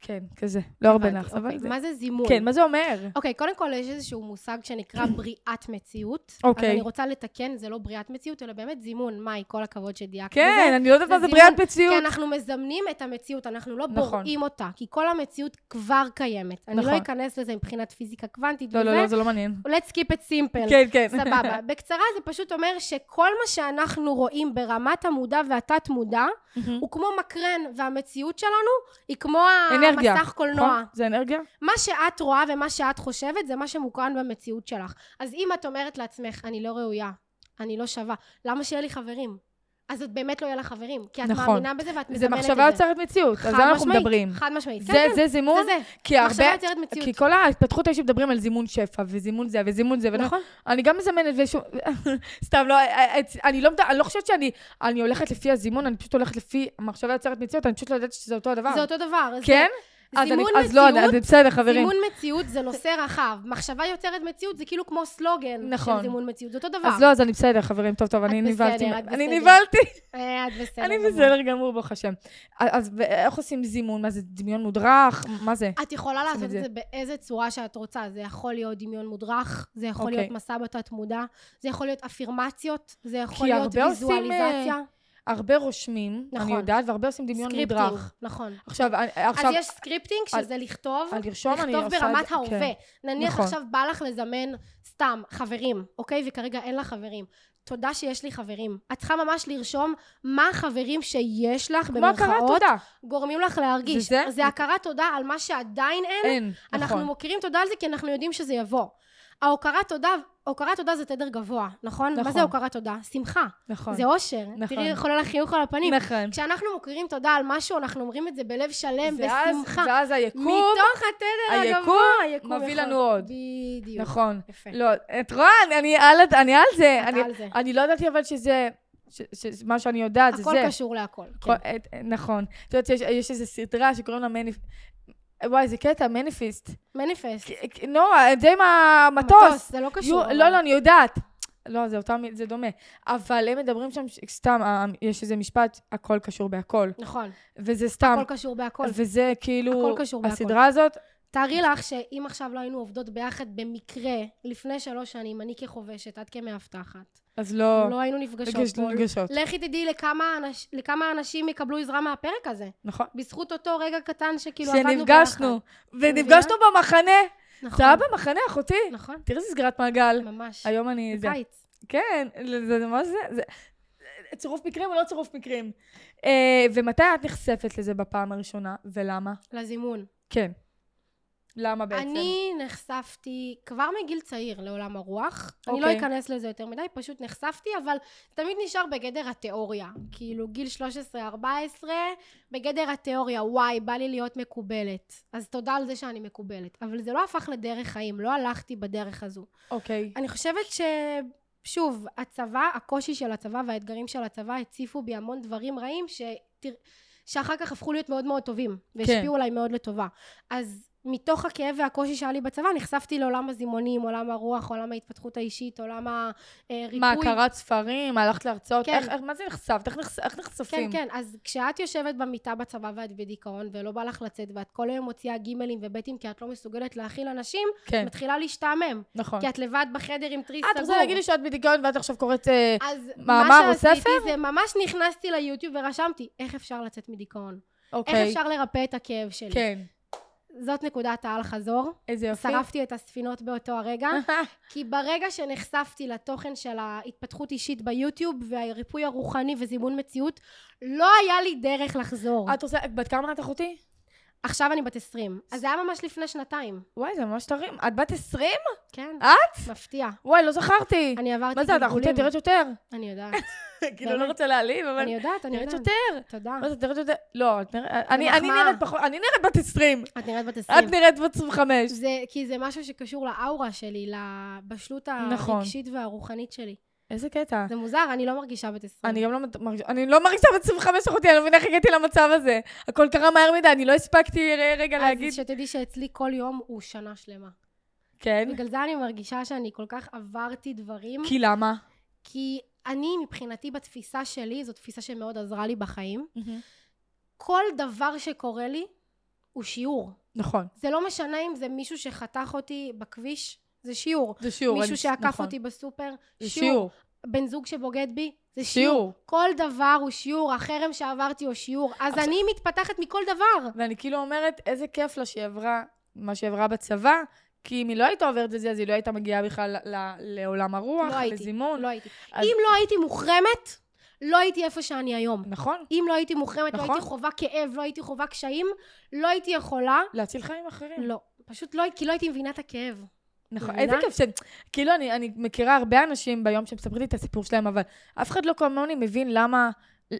[SPEAKER 2] כן, כזה. לא הרבה
[SPEAKER 3] הבנתי,
[SPEAKER 2] נאחס, אבל
[SPEAKER 3] אוקיי.
[SPEAKER 2] זה...
[SPEAKER 3] מה זה זימון?
[SPEAKER 2] כן, מה זה אומר?
[SPEAKER 3] אוקיי, קודם כל יש איזשהו מושג שנקרא בריאת מציאות.
[SPEAKER 2] אוקיי.
[SPEAKER 3] אז אני רוצה לתקן, זה לא בריאת מציאות, אלא באמת זימון. מאי, כל הכבוד שדייקת
[SPEAKER 2] כן,
[SPEAKER 3] בזה.
[SPEAKER 2] אני לא יודעת מה זה
[SPEAKER 3] זימון,
[SPEAKER 2] בריאת
[SPEAKER 3] כי
[SPEAKER 2] מציאות.
[SPEAKER 3] אנחנו מזמנים את המציאות, אנחנו לא
[SPEAKER 2] נכון.
[SPEAKER 3] בוראים אותה, כי כל המציאות כבר קיימת. אני
[SPEAKER 2] נכון.
[SPEAKER 3] לא אכנס לזה מבחינת פיזיקה קוונטית
[SPEAKER 2] לא,
[SPEAKER 3] וזה.
[SPEAKER 2] לא, לא, זה לא מעניין.
[SPEAKER 3] let's keep it simple.
[SPEAKER 2] כן, כן.
[SPEAKER 3] כן, סבבה. בקצרה, זה פשוט אומר שכל מה שאנחנו רואים ברמת המודע והתת-מודע,
[SPEAKER 2] מהמם.
[SPEAKER 3] הוא כמו מקרן, והמציאות שלנו היא כמו
[SPEAKER 2] אנרגיה.
[SPEAKER 3] המסך קולנוע.
[SPEAKER 2] נכון? זה אנרגיה?
[SPEAKER 3] מה שאת רואה ומה שאת חושבת, זה מה שמוקרן במציאות שלך. אז אם את אומרת לעצמך, אני לא ראויה, אני לא שווה, למה שיהיה לי חברים? אז את באמת לא יהיה לך חברים, כי את
[SPEAKER 2] נכון.
[SPEAKER 3] מאמינה בזה ואת מזמנת את זה.
[SPEAKER 2] זה מחשבה יוצרת מציאות, על זה
[SPEAKER 3] חד
[SPEAKER 2] אנחנו
[SPEAKER 3] משמעית,
[SPEAKER 2] מדברים.
[SPEAKER 3] חד משמעית.
[SPEAKER 2] זה-
[SPEAKER 3] כן, כן,
[SPEAKER 2] זה זימון,
[SPEAKER 3] זה.
[SPEAKER 2] כי הרבה...
[SPEAKER 3] מחשבה יוצרת מציאות.
[SPEAKER 2] כי כל ההתפתחות האישית מדברים על זימון שפע, וזימון זה, וזימון זה, ואני-
[SPEAKER 3] נכון.
[SPEAKER 2] אני גם מזמנת ושום... סתם, לא, אני לא, מד- אני לא חושבת שאני... אני הולכת לפי הזימון, אני פשוט הולכת לפי מחשבה יוצרת מציאות, אני פשוט לא יודעת שזה אותו הדבר.
[SPEAKER 3] זה אותו דבר. אז
[SPEAKER 2] כן?
[SPEAKER 3] זה-
[SPEAKER 2] אז אני-
[SPEAKER 3] זימון
[SPEAKER 2] אז לא,
[SPEAKER 3] מציאות-
[SPEAKER 2] אז בסדר, חברים.
[SPEAKER 3] זימון מציאות זה נושא רחב. מחשבה יוצרת מציאות זה כאילו כמו סלוגן
[SPEAKER 2] נכון.
[SPEAKER 3] של זימון מציאות. זה אותו דבר.
[SPEAKER 2] אז לא, אז אני בסדר, חברים, טוב, טוב,
[SPEAKER 3] את
[SPEAKER 2] אני
[SPEAKER 3] בסדר,
[SPEAKER 2] נבהלתי.
[SPEAKER 3] את
[SPEAKER 2] אני
[SPEAKER 3] בסדר.
[SPEAKER 2] נבהלתי.
[SPEAKER 3] אה, את בסדר.
[SPEAKER 2] אני
[SPEAKER 3] גמור.
[SPEAKER 2] בסדר גמור, ברוך השם. אז ו- איך עושים זימון? מה זה, דמיון מודרך? מה זה?
[SPEAKER 3] את יכולה
[SPEAKER 2] עושים
[SPEAKER 3] לעשות
[SPEAKER 2] את
[SPEAKER 3] את
[SPEAKER 2] זה.
[SPEAKER 3] זה באיזה צורה שאת רוצה. זה יכול להיות דמיון מודרך, זה יכול
[SPEAKER 2] אוקיי.
[SPEAKER 3] להיות מסע בתת מודע, זה יכול להיות אפירמציות, זה יכול
[SPEAKER 2] כי
[SPEAKER 3] להיות
[SPEAKER 2] הרבה עושים, אה,
[SPEAKER 3] ויזואליזציה.
[SPEAKER 2] הרבה רושמים, אני
[SPEAKER 3] נכון.
[SPEAKER 2] יודעת, והרבה עושים דמיון
[SPEAKER 3] סקריפטינג,
[SPEAKER 2] מודרך.
[SPEAKER 3] נכון.
[SPEAKER 2] עכשיו, אני-
[SPEAKER 3] אז
[SPEAKER 2] עכשיו...
[SPEAKER 3] יש סקריפטינג,
[SPEAKER 2] על-
[SPEAKER 3] שזה לכתוב,
[SPEAKER 2] על לרשום אני
[SPEAKER 3] לכתוב
[SPEAKER 2] עושה את
[SPEAKER 3] ברמת
[SPEAKER 2] זה- כן.
[SPEAKER 3] ההווה. נניח
[SPEAKER 2] נכון.
[SPEAKER 3] עכשיו בא לך לזמן סתם חברים, אוקיי? וכרגע אין לך חברים. תודה שיש לי חברים. את צריכה ממש לרשום מה החברים שיש לך,
[SPEAKER 2] כמו הכרת
[SPEAKER 3] במרכאות,
[SPEAKER 2] תודה.
[SPEAKER 3] גורמים לך להרגיש.
[SPEAKER 2] זה אה, זה?
[SPEAKER 3] זה הכרת תודה על מה שעדיין אין,
[SPEAKER 2] אין,
[SPEAKER 3] אנחנו
[SPEAKER 2] נכון.
[SPEAKER 3] מוקירים תודה על זה כי אנחנו יודעים שזה יבוא. ההוקרת תודה, הוקרת תודה זה תדר גבוה, נכון?
[SPEAKER 2] נכון.
[SPEAKER 3] מה זה הוקרת תודה? שמחה.
[SPEAKER 2] נכון.
[SPEAKER 3] זה אושר.
[SPEAKER 2] נכון.
[SPEAKER 3] תראי איך עולה לך חיוך על הפנים.
[SPEAKER 2] נכון.
[SPEAKER 3] כשאנחנו מוקירים תודה על משהו, אנחנו אומרים את זה בלב שלם,
[SPEAKER 2] ואז-
[SPEAKER 3] בשמחה.
[SPEAKER 2] ואז היקום,
[SPEAKER 3] מתוך התדר
[SPEAKER 2] היקום
[SPEAKER 3] הגבוה, היקום
[SPEAKER 2] מביא
[SPEAKER 3] יכול.
[SPEAKER 2] לנו עוד.
[SPEAKER 3] בדיוק.
[SPEAKER 2] נכון.
[SPEAKER 3] יפה.
[SPEAKER 2] לא, את רואה, אני- אני על אני על זה.
[SPEAKER 3] את
[SPEAKER 2] אני-
[SPEAKER 3] כן. על זה.
[SPEAKER 2] אני לא ידעתי אבל שזה... ש- ש- ש- מה שאני יודעת זה זה.
[SPEAKER 3] הכל קשור להכל. כן.
[SPEAKER 2] כל- את- נכון. את יודעת שיש יש איזו סדרה שקוראים לה מניפ... וואי, זה קטע, מניפיסט.
[SPEAKER 3] מניפסט.
[SPEAKER 2] נועה, זה עם המטוס.
[SPEAKER 3] כן. זה לא קשור.
[SPEAKER 2] כן, יו-
[SPEAKER 3] אבל.
[SPEAKER 2] לא, לא, אני יודעת. לא, זה אותם, זה דומה. אבל הם מדברים שם, ש- סתם, אה, יש איזה משפט, הכל קשור בהכל.
[SPEAKER 3] נכון.
[SPEAKER 2] וזה סתם.
[SPEAKER 3] הכל קשור בהכל.
[SPEAKER 2] וזה כאילו,
[SPEAKER 3] הכל קשור בהכל.
[SPEAKER 2] הסדרה הזאת,
[SPEAKER 3] תארי לך שאם עכשיו לא היינו עובדות ביחד במקרה, לפני שלוש שנים, אני כחובשת, את כמאבטחת,
[SPEAKER 2] אז לא...
[SPEAKER 3] לא היינו נפגשות
[SPEAKER 2] לא
[SPEAKER 3] פה.
[SPEAKER 2] נפגשות.
[SPEAKER 3] לכי תדעי לכמה, אנש... לכמה אנשים יקבלו עזרה מהפרק הזה.
[SPEAKER 2] נכון.
[SPEAKER 3] בזכות אותו רגע קטן שכאילו כאילו, עבדנו ביחד.
[SPEAKER 2] שנפגשנו, ונפגשנו במחנה.
[SPEAKER 3] נכון.
[SPEAKER 2] זה היה במחנה, אחותי.
[SPEAKER 3] נכון,
[SPEAKER 2] תראי איזה סגירת מעגל.
[SPEAKER 3] ממש.
[SPEAKER 2] היום אני... זה-
[SPEAKER 3] קיץ.
[SPEAKER 2] כן, זה זה ממש זה. זה- צירוף מקרים או לא צירוף מקרים? אה, ומתי את נחשפת לזה בפעם הראשונה, ולמה?
[SPEAKER 3] לזימון.
[SPEAKER 2] כן. למה בעצם?
[SPEAKER 3] אני נחשפתי כבר מגיל צעיר לעולם הרוח. אני לא
[SPEAKER 2] אוקיי.
[SPEAKER 3] אכנס לזה יותר מדי, פשוט נחשפתי, אבל תמיד נשאר בגדר התיאוריה. כאילו, גיל 13-14, בגדר התיאוריה, וואי, בא לי להיות מקובלת. אז תודה על זה שאני מקובלת. אבל זה לא הפך לדרך חיים, לא הלכתי בדרך הזו.
[SPEAKER 2] אוקיי.
[SPEAKER 3] אני חושבת ש... שוב, הצבא, הקושי של הצבא והאתגרים של הצבא הציפו בי המון דברים רעים שתר... שאחר כך הפכו להיות מאוד מאוד טובים, והשפיעו
[SPEAKER 2] כן.
[SPEAKER 3] עליי מאוד לטובה. אז מתוך הכאב והקושי שהיה לי בצבא, נחשפתי לעולם הזימונים, עולם הרוח, עולם ההתפתחות האישית, עולם אה, הריפוי.
[SPEAKER 2] מה, קראת ספרים? הלכת להרצאות?
[SPEAKER 3] כן.
[SPEAKER 2] איך, איך- מה זה נחשפת? איך נחש- איך נחשפים?
[SPEAKER 3] כן, כן, אז כשאת יושבת במיטה בצבא ואת בדיכאון ולא בא לך לצאת ואת כל היום מוציאה גימלים ובטים כי את לא מסוגלת להכיל אנשים,
[SPEAKER 2] כן,
[SPEAKER 3] מתחילה להשתעמם.
[SPEAKER 2] נכון.
[SPEAKER 3] כי את לבד בחדר עם טריס
[SPEAKER 2] את
[SPEAKER 3] סגור.
[SPEAKER 2] רוצה להגיד לי שאת בדיכאון ואת עכשיו קוראת... אה,
[SPEAKER 3] אז
[SPEAKER 2] מאמר או
[SPEAKER 3] מה שעשיתי
[SPEAKER 2] ספר?
[SPEAKER 3] זה ממש נכנסתי ליוטיוב ורשמתי איך אפשר לצאת מדיכאון. איך
[SPEAKER 2] אוקיי.
[SPEAKER 3] אפשר לרפא את הכאב שלי.
[SPEAKER 2] כן. אוקיי.
[SPEAKER 3] זאת נקודת האל חזור.
[SPEAKER 2] איזה יופי.
[SPEAKER 3] שרפתי את הספינות באותו הרגע,
[SPEAKER 2] אה.
[SPEAKER 3] כי ברגע שנחשפתי לתוכן של ההתפתחות אישית ביוטיוב והריפוי הרוחני וזימון מציאות, לא היה לי דרך לחזור.
[SPEAKER 2] את רוצה... בת כמה את אחותי?
[SPEAKER 3] עכשיו אני בת 20. אז זה היה ממש לפני שנתיים.
[SPEAKER 2] וואי, זה ממש טרים. את בת 20?
[SPEAKER 3] כן,
[SPEAKER 2] את?
[SPEAKER 3] מפתיע.
[SPEAKER 2] וואי, לא זכרתי.
[SPEAKER 3] אני עברתי
[SPEAKER 2] מה זה, את אחותי? את נראית יותר.
[SPEAKER 3] אני יודעת,
[SPEAKER 2] כאילו,
[SPEAKER 3] באמת?
[SPEAKER 2] לא רוצה להעליב, אבל...
[SPEAKER 3] אני יודעת, אני
[SPEAKER 2] נראית
[SPEAKER 3] יודעת.
[SPEAKER 2] יותר.
[SPEAKER 3] תודה.
[SPEAKER 2] מה זה, את נראית יותר? לא, את נראית... אני אני
[SPEAKER 3] מחמאה.
[SPEAKER 2] נראית פחות... אני נראית בת 20.
[SPEAKER 3] את נראית בת 20.
[SPEAKER 2] את נראית בת 25.
[SPEAKER 3] זה, כי זה משהו שקשור לאאורה שלי, לבשלות
[SPEAKER 2] נכון.
[SPEAKER 3] הרגשית והרוחנית שלי.
[SPEAKER 2] איזה קטע.
[SPEAKER 3] זה מוזר, אני לא מרגישה בת 20.
[SPEAKER 2] אני גם לא מת- מרגישה, אני לא מרגישה בת 25 אחותי, אני לא מבינה איך הגעתי למצב הזה. הכל קרה מהר מדי, אני לא הספקתי ר- רגע להגיד.
[SPEAKER 3] אז שתדעי שאצלי כל יום הוא שנה שלמה.
[SPEAKER 2] כן.
[SPEAKER 3] בגלל זה אני מרגישה שאני כל כך עברתי דברים,
[SPEAKER 2] כי למה?
[SPEAKER 3] כי אני מבחינתי בתפיסה שלי, זו תפיסה שמאוד עזרה לי בחיים, כל דבר שקורה לי הוא שיעור.
[SPEAKER 2] נכון.
[SPEAKER 3] זה לא משנה אם זה מישהו שחתך אותי בכביש, זה שיעור.
[SPEAKER 2] זה שיעור.
[SPEAKER 3] מישהו
[SPEAKER 2] אני-
[SPEAKER 3] שעקף
[SPEAKER 2] נכון.
[SPEAKER 3] אותי בסופר,
[SPEAKER 2] זה
[SPEAKER 3] שיעור.
[SPEAKER 2] שיעור.
[SPEAKER 3] בן זוג שבוגד בי, זה שיעור.
[SPEAKER 2] שיעור.
[SPEAKER 3] כל דבר הוא שיעור, החרם שעברתי הוא שיעור, אז
[SPEAKER 2] עכשיו-
[SPEAKER 3] אני מתפתחת מכל דבר.
[SPEAKER 2] ואני כאילו אומרת, איזה כיף לה שהיא עברה מה שהיא עברה בצבא, כי אם היא לא הייתה עוברת את זה, אז היא לא הייתה מגיעה בכלל ל- ל- לעולם הרוח,
[SPEAKER 3] לא הייתי,
[SPEAKER 2] לזימון.
[SPEAKER 3] לא הייתי.
[SPEAKER 2] אז-
[SPEAKER 3] אם לא הייתי מוחרמת, לא הייתי איפה שאני היום.
[SPEAKER 2] נכון.
[SPEAKER 3] אם לא הייתי מוחרמת, לא
[SPEAKER 2] נכון.
[SPEAKER 3] הייתי חווה כאב, לא הייתי חווה קשיים, לא הייתי יכולה.
[SPEAKER 2] להציל חיים אחרים.
[SPEAKER 3] לא. פשוט לא, כי לא הייתי מבינה את הכאב.
[SPEAKER 2] נכון, איזה
[SPEAKER 3] מבינה?
[SPEAKER 2] כיף ש... כאילו, אני, אני מכירה הרבה אנשים ביום שמספרים לי את הסיפור שלהם, אבל אף אחד לא כמוני מבין למה,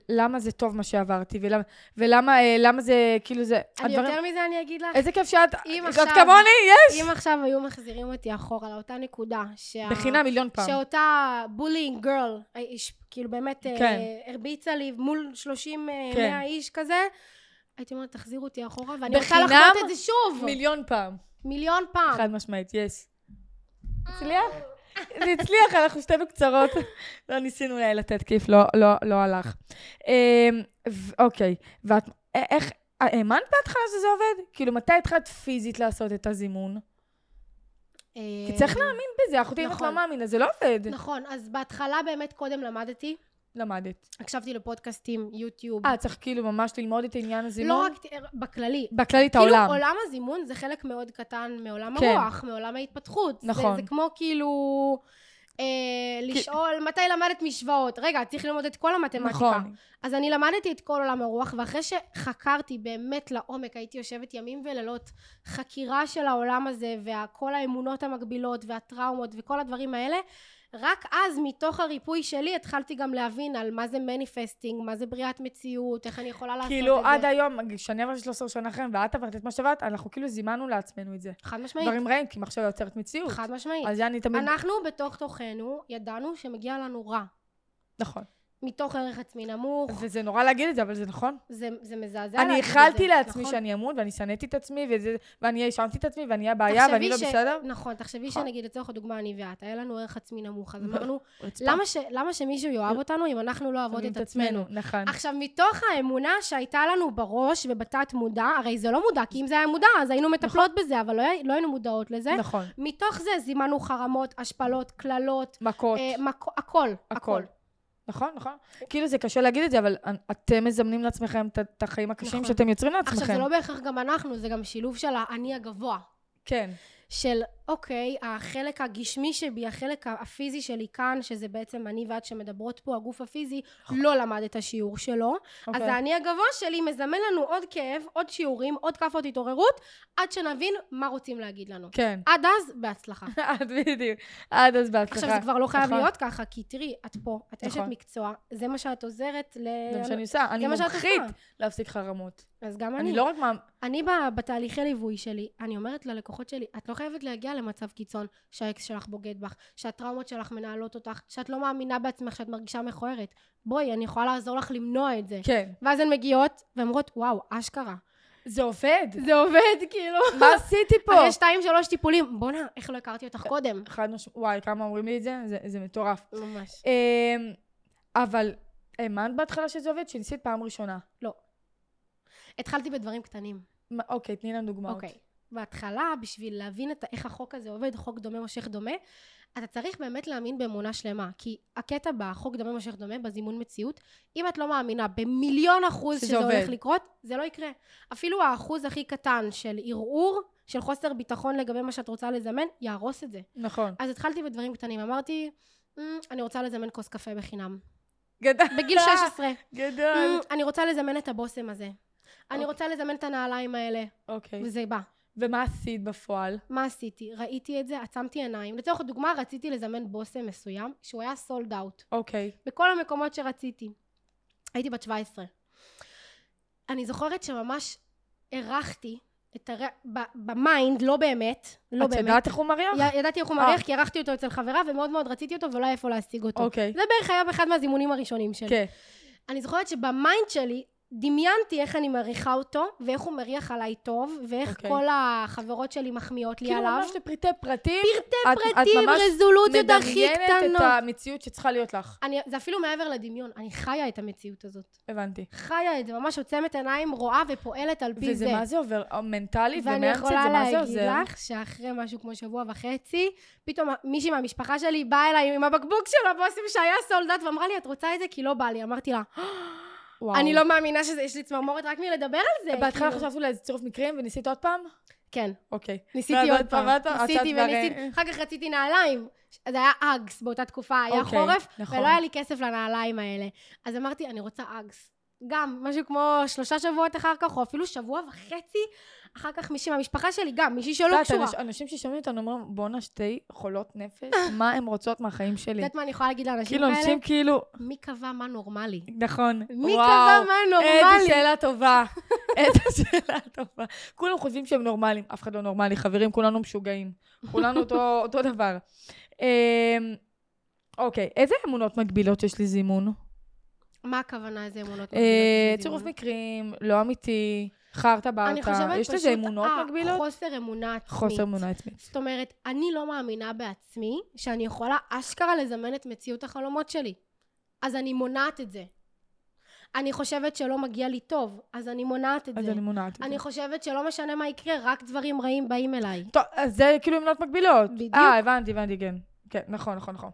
[SPEAKER 2] למה זה טוב מה שעברתי, ולמה, ולמה אה, למה זה, כאילו זה...
[SPEAKER 3] אני יותר מזה אני אגיד לך,
[SPEAKER 2] איזה כיף שאת...
[SPEAKER 3] אם
[SPEAKER 2] את
[SPEAKER 3] עכשיו-
[SPEAKER 2] כמוני, יש!
[SPEAKER 3] אם עכשיו היו מחזירים אותי אחורה לאותה נקודה, שה...
[SPEAKER 2] בחינם מיליון פעם.
[SPEAKER 3] שאותה בולינג גרל, כאילו באמת אה,
[SPEAKER 2] כן.
[SPEAKER 3] הרביצה לי מול 30 אה,
[SPEAKER 2] כן.
[SPEAKER 3] 100 איש כזה, הייתי אומרת, תחזירו אותי אחורה, ואני רוצה
[SPEAKER 2] בחינם?
[SPEAKER 3] לחוות את זה שוב.
[SPEAKER 2] מיליון פעם.
[SPEAKER 3] מיליון פעם.
[SPEAKER 2] חד משמעית, יש. הצליח? זה הצליח, אנחנו שתינו קצרות. לא ניסינו אולי לתת כיף, לא- לא- לא הלך. אמ, ו- אוקיי, ואת... א- איך... האמנת בהתחלה שזה עובד? כאילו, מתי התחלת פיזית לעשות את הזימון?
[SPEAKER 3] אה,
[SPEAKER 2] כי צריך להאמין בזה, אחותי, אם את
[SPEAKER 3] נכון.
[SPEAKER 2] לא מאמינה, זה לא עובד.
[SPEAKER 3] נכון, אז בהתחלה באמת קודם למדתי,
[SPEAKER 2] למדת.
[SPEAKER 3] הקשבתי לפודקאסטים, יוטיוב.
[SPEAKER 2] אה, צריך כאילו ממש ללמוד את עניין
[SPEAKER 3] לא
[SPEAKER 2] הזימון?
[SPEAKER 3] רק, ת- בכללי.
[SPEAKER 2] בכללי את
[SPEAKER 3] כאילו
[SPEAKER 2] העולם.
[SPEAKER 3] עולם הזימון זה חלק מאוד קטן מעולם
[SPEAKER 2] כן.
[SPEAKER 3] הרוח, מעולם ההתפתחות. זה-
[SPEAKER 2] נכון.
[SPEAKER 3] זה כמו כאילו אה, לשאול מתי למדת משוואות. רגע, צריך ללמוד את כל המתמטיקה.
[SPEAKER 2] נכון.
[SPEAKER 3] אז אני למדתי את כל עולם הרוח, ואחרי שחקרתי באמת לעומק, הייתי יושבת ימים ולילות, חקירה של העולם הזה, וכל האמונות המקבילות, והטראומות, וכל הדברים האלה, רק אז, מתוך הריפוי שלי, התחלתי גם להבין על מה זה מניפסטינג, מה זה בריאת מציאות, איך אני יכולה לעשות את
[SPEAKER 2] כאילו,
[SPEAKER 3] זה.
[SPEAKER 2] עד היום, שאני עברתי 13 שנה אחרי, ואת עברת את מה שעברת, אנחנו כאילו זימנו לעצמנו את זה.
[SPEAKER 3] חד משמעית.
[SPEAKER 2] דברים רעים, כי מחשב יוצרת מציאות.
[SPEAKER 3] חד משמעית.
[SPEAKER 2] אז אני תמיד...
[SPEAKER 3] אנחנו בתוך תוכנו ידענו שמגיע לנו רע.
[SPEAKER 2] נכון.
[SPEAKER 3] מתוך ערך עצמי נמוך.
[SPEAKER 2] וזה נורא להגיד את זה, אבל זה נכון.
[SPEAKER 3] זה, זה מזעזע.
[SPEAKER 2] אני
[SPEAKER 3] להגיד את
[SPEAKER 2] איחלתי
[SPEAKER 3] זה,
[SPEAKER 2] לעצמי
[SPEAKER 3] לא, נכון?
[SPEAKER 2] שאני אמות, ואני שנאתי את עצמי, וזה- ואני האשמתי את עצמי, ואני הבעיה, ואני
[SPEAKER 3] תחשבי
[SPEAKER 2] לא
[SPEAKER 3] ש-
[SPEAKER 2] בסדר.
[SPEAKER 3] נכון, תחשבי
[SPEAKER 2] נכון.
[SPEAKER 3] שנגיד לצורך הדוגמה אני ואת, היה לנו ערך עצמי נמוך, אז אמרנו,
[SPEAKER 2] רצפה.
[SPEAKER 3] למה, ש, למה שמישהו יאהב אותנו אם אנחנו לא אוהבות
[SPEAKER 2] שמים
[SPEAKER 3] את עצמנו? כן.
[SPEAKER 2] נכון.
[SPEAKER 3] עכשיו, מתוך האמונה שהייתה לנו בראש ובתת מודע, הרי זה לא מודע, כי אם זה היה מודע, אז היינו מטפלות בזה, אבל לא, הי- לא היינו מודעות לזה.
[SPEAKER 2] נכון.
[SPEAKER 3] מתוך זה זימנו חרמות, השפלות, קללות,
[SPEAKER 2] מכות.
[SPEAKER 3] אה, מכו- הכל,
[SPEAKER 2] הכל.
[SPEAKER 3] הכל.
[SPEAKER 2] נכון, נכון. כאילו זה קשה להגיד את זה, אבל אנ- אתם מזמנים לעצמכם את- את החיים הקשים
[SPEAKER 3] נכון.
[SPEAKER 2] שאתם יוצרים לעצמכם.
[SPEAKER 3] עכשיו, זה לא בהכרח גם אנחנו, זה גם שילוב של האני הגבוה.
[SPEAKER 2] כן.
[SPEAKER 3] של אוקיי, החלק הגשמי שבי, החלק הפיזי שלי כאן, שזה בעצם אני ואת שמדברות פה, הגוף הפיזי, לא למד את השיעור שלו. אז
[SPEAKER 2] נכון. אוקיי.
[SPEAKER 3] האני הגבוה שלי מזמן לנו עוד כאב, עוד שיעורים, עוד כאפות התעוררות, עד שנבין מה רוצים להגיד לנו.
[SPEAKER 2] כן.
[SPEAKER 3] עד אז, בהצלחה.
[SPEAKER 2] עד בדיוק. עד אז בהצלחה.
[SPEAKER 3] עכשיו, זה כבר לא חייב
[SPEAKER 2] נכון.
[SPEAKER 3] להיות ככה, כי תראי, את פה, את אשת
[SPEAKER 2] נכון.
[SPEAKER 3] מקצוע, זה מה שאת עוזרת ל...
[SPEAKER 2] זה מה שאני עושה. אני
[SPEAKER 3] זה מה שאת
[SPEAKER 2] מומחית
[SPEAKER 3] עושה.
[SPEAKER 2] להפסיק חרמות.
[SPEAKER 3] אז גם אני.
[SPEAKER 2] אני לא רק מה...
[SPEAKER 3] אני ב- בתהליכי ליווי שלי, אני אומרת ללקוחות שלי, את לא חייבת להגיע למצב קיצון שהאקס שלך בוגד בך, שהטראומות שלך מנהלות אותך, שאת לא מאמינה בעצמך, שאת מרגישה מכוערת. בואי, אני יכולה לעזור לך למנוע את זה.
[SPEAKER 2] כן.
[SPEAKER 3] ואז הן מגיעות ואומרות, וואו, אשכרה.
[SPEAKER 2] זה עובד.
[SPEAKER 3] זה עובד, כאילו.
[SPEAKER 2] מה עשיתי פה?
[SPEAKER 3] אחרי שתיים, שלוש טיפולים, בואנה, איך לא הכרתי אותך קודם.
[SPEAKER 2] חד משמעית. וואי, כמה אומרים לי את זה? זה- זה מטורף.
[SPEAKER 3] ממש.
[SPEAKER 2] אמ, אבל האמנת בהתחלה שזה עובד? שניסית פעם ראשונה.
[SPEAKER 3] התחלתי בדברים קטנים.
[SPEAKER 2] מה- אוקיי, תני לנו דוגמאות.
[SPEAKER 3] אוקיי. בהתחלה, בשביל להבין את, ה- איך החוק הזה עובד, חוק דומה מושך דומה, אתה צריך באמת להאמין באמונה שלמה. כי הקטע בחוק דומה מושך דומה, בזימון מציאות, אם את לא מאמינה במיליון אחוז
[SPEAKER 2] שזה
[SPEAKER 3] שזה,
[SPEAKER 2] עובד.
[SPEAKER 3] הולך לקרות, זה לא יקרה. אפילו האחוז הכי קטן של ערעור, של חוסר ביטחון לגבי מה שאת רוצה לזמן, יהרוס את זה.
[SPEAKER 2] נכון.
[SPEAKER 3] אז התחלתי בדברים קטנים, אמרתי, "מ, אני רוצה לזמן כוס קפה בחינם.
[SPEAKER 2] גדול.
[SPEAKER 3] בגיל 16. "מ,
[SPEAKER 2] גדול.
[SPEAKER 3] אני רוצה לזמן את הבושם הזה. אני
[SPEAKER 2] אוקיי.
[SPEAKER 3] רוצה לזמן את הנעליים האלה.
[SPEAKER 2] אוקיי.
[SPEAKER 3] אה, וזה בא.
[SPEAKER 2] ומה עשית בפועל?
[SPEAKER 3] מה עשיתי? ראיתי את זה, עצמתי עיניים. לצורך הדוגמה, רציתי לזמן בושם מסוים, שהוא היה סולד אאוט.
[SPEAKER 2] אוקיי.
[SPEAKER 3] בכל המקומות שרציתי. הייתי בת 17. אני זוכרת שממש הרחתי את הר... ב- במיינד, לא באמת, לא
[SPEAKER 2] את
[SPEAKER 3] באמת.
[SPEAKER 2] יודעת איך הוא מריח?
[SPEAKER 3] י- ידעתי איך הוא
[SPEAKER 2] אה.
[SPEAKER 3] מריח, כי ערכתי אותו אצל חברה, ומאוד מאוד רציתי אותו, ולא היה איפה להשיג אותו.
[SPEAKER 2] אוקיי.
[SPEAKER 3] זה בערך היה באחד מהזימונים הראשונים שלי.
[SPEAKER 2] כן.
[SPEAKER 3] אני זוכרת שבמיינד שלי דמיינתי איך אני מריחה אותו, ואיך הוא מריח עליי טוב, ואיך
[SPEAKER 2] אוקיי.
[SPEAKER 3] כל החברות שלי מחמיאות לי
[SPEAKER 2] כאילו
[SPEAKER 3] עליו.
[SPEAKER 2] ממש לפרטי פרטים. את- את
[SPEAKER 3] פרטים,
[SPEAKER 2] ממש
[SPEAKER 3] רזולוציות הכי
[SPEAKER 2] מדמיינת את
[SPEAKER 3] קטנות.
[SPEAKER 2] המציאות שצריכה להיות לך.
[SPEAKER 3] אני- זה אפילו מעבר לדמיון, אני חיה את המציאות הזאת.
[SPEAKER 2] הבנתי.
[SPEAKER 3] חיה את זה, ממש עוצמת עיניים, רואה ופועלת על פי זה.
[SPEAKER 2] וזה מה זה עובר? אה, מנטלית
[SPEAKER 3] ואני
[SPEAKER 2] ומאמצת
[SPEAKER 3] יכולה
[SPEAKER 2] זה מה זה
[SPEAKER 3] להגיד
[SPEAKER 2] עוזר?
[SPEAKER 3] לך שאחרי משהו כמו שבוע וחצי, פתאום מישהי מהמשפחה שלי באה אליי עם הבקבוק של הבושם שהיה סולדת ואמרה לי, את רוצה את זה? כי לא בא לי. אמרתי לה,
[SPEAKER 2] וואו.
[SPEAKER 3] אני לא מאמינה שזה, יש לי צמרמורת רק מלדבר על זה.
[SPEAKER 2] בהתחלה
[SPEAKER 3] כאילו.
[SPEAKER 2] חשבתי אולי זה צירוף מקרים וניסית עוד פעם?
[SPEAKER 3] כן,
[SPEAKER 2] אוקיי. ואז
[SPEAKER 3] ניסיתי עוד
[SPEAKER 2] את
[SPEAKER 3] פעם.
[SPEAKER 2] עבדת, עשית
[SPEAKER 3] ניסיתי
[SPEAKER 2] כבר, אה,
[SPEAKER 3] וניסיתי, אחר כך רציתי נעליים. זה היה אגס באותה תקופה, היה
[SPEAKER 2] אוקיי,
[SPEAKER 3] חורף,
[SPEAKER 2] נכון.
[SPEAKER 3] ולא היה לי כסף לנעליים האלה. אז אמרתי, אני רוצה אגס. גם, משהו כמו שלושה שבועות אחר כך, או אפילו שבוע וחצי, אחר כך מישהי מהמשפחה שלי, גם, מישהי
[SPEAKER 2] את
[SPEAKER 3] שלא
[SPEAKER 2] יודעת,
[SPEAKER 3] לא, קשורה.
[SPEAKER 2] אנש- אנשים ששומעים אותנו אומרים, בואנה שתי חולות נפש, מה הן רוצות מהחיים
[SPEAKER 3] את
[SPEAKER 2] שלי?
[SPEAKER 3] יודעת מה אני יכולה להגיד לאנשים
[SPEAKER 2] כאילו,
[SPEAKER 3] כאלה?
[SPEAKER 2] אנשים כאילו,
[SPEAKER 3] מי קבע מה נורמלי?
[SPEAKER 2] נכון.
[SPEAKER 3] מי
[SPEAKER 2] וואו,
[SPEAKER 3] קבע מה
[SPEAKER 2] איזה
[SPEAKER 3] נורמלי?
[SPEAKER 2] שאלה טובה. איזה שאלה טובה. כולם חושבים שהם נורמלים, אף אחד לא נורמלי, חברים, כולנו משוגעים. כולנו אותו, אותו דבר. אמ, אוקיי, איזה אמונות מגבילות יש
[SPEAKER 3] לא
[SPEAKER 2] לזימון?
[SPEAKER 3] מה הכוונה איזה אמונות
[SPEAKER 2] אה,
[SPEAKER 3] מגבילות?
[SPEAKER 2] צירוף מקרים, לא אמיתי, חרטה
[SPEAKER 3] אני
[SPEAKER 2] ברטה,
[SPEAKER 3] חושבת
[SPEAKER 2] יש לזה
[SPEAKER 3] פשוט,
[SPEAKER 2] אמונות
[SPEAKER 3] אה,
[SPEAKER 2] מגבילות?
[SPEAKER 3] חוסר אמונה עצמית.
[SPEAKER 2] חוסר אמונה עצמית.
[SPEAKER 3] זאת אומרת, אני לא מאמינה בעצמי שאני יכולה אשכרה לזמן את מציאות החלומות שלי. אז אני מונעת את זה. אני חושבת שלא מגיע לי טוב, אז אני מונעת את
[SPEAKER 2] אז
[SPEAKER 3] זה.
[SPEAKER 2] אני מונעת את זה.
[SPEAKER 3] אני חושבת שלא משנה מה יקרה, רק דברים רעים באים אליי.
[SPEAKER 2] טוב, אז זה כאילו אמונות מגבילות.
[SPEAKER 3] בדיוק.
[SPEAKER 2] אה, הבנתי, הבנתי, כן. כן, נכון, נכון, נכון.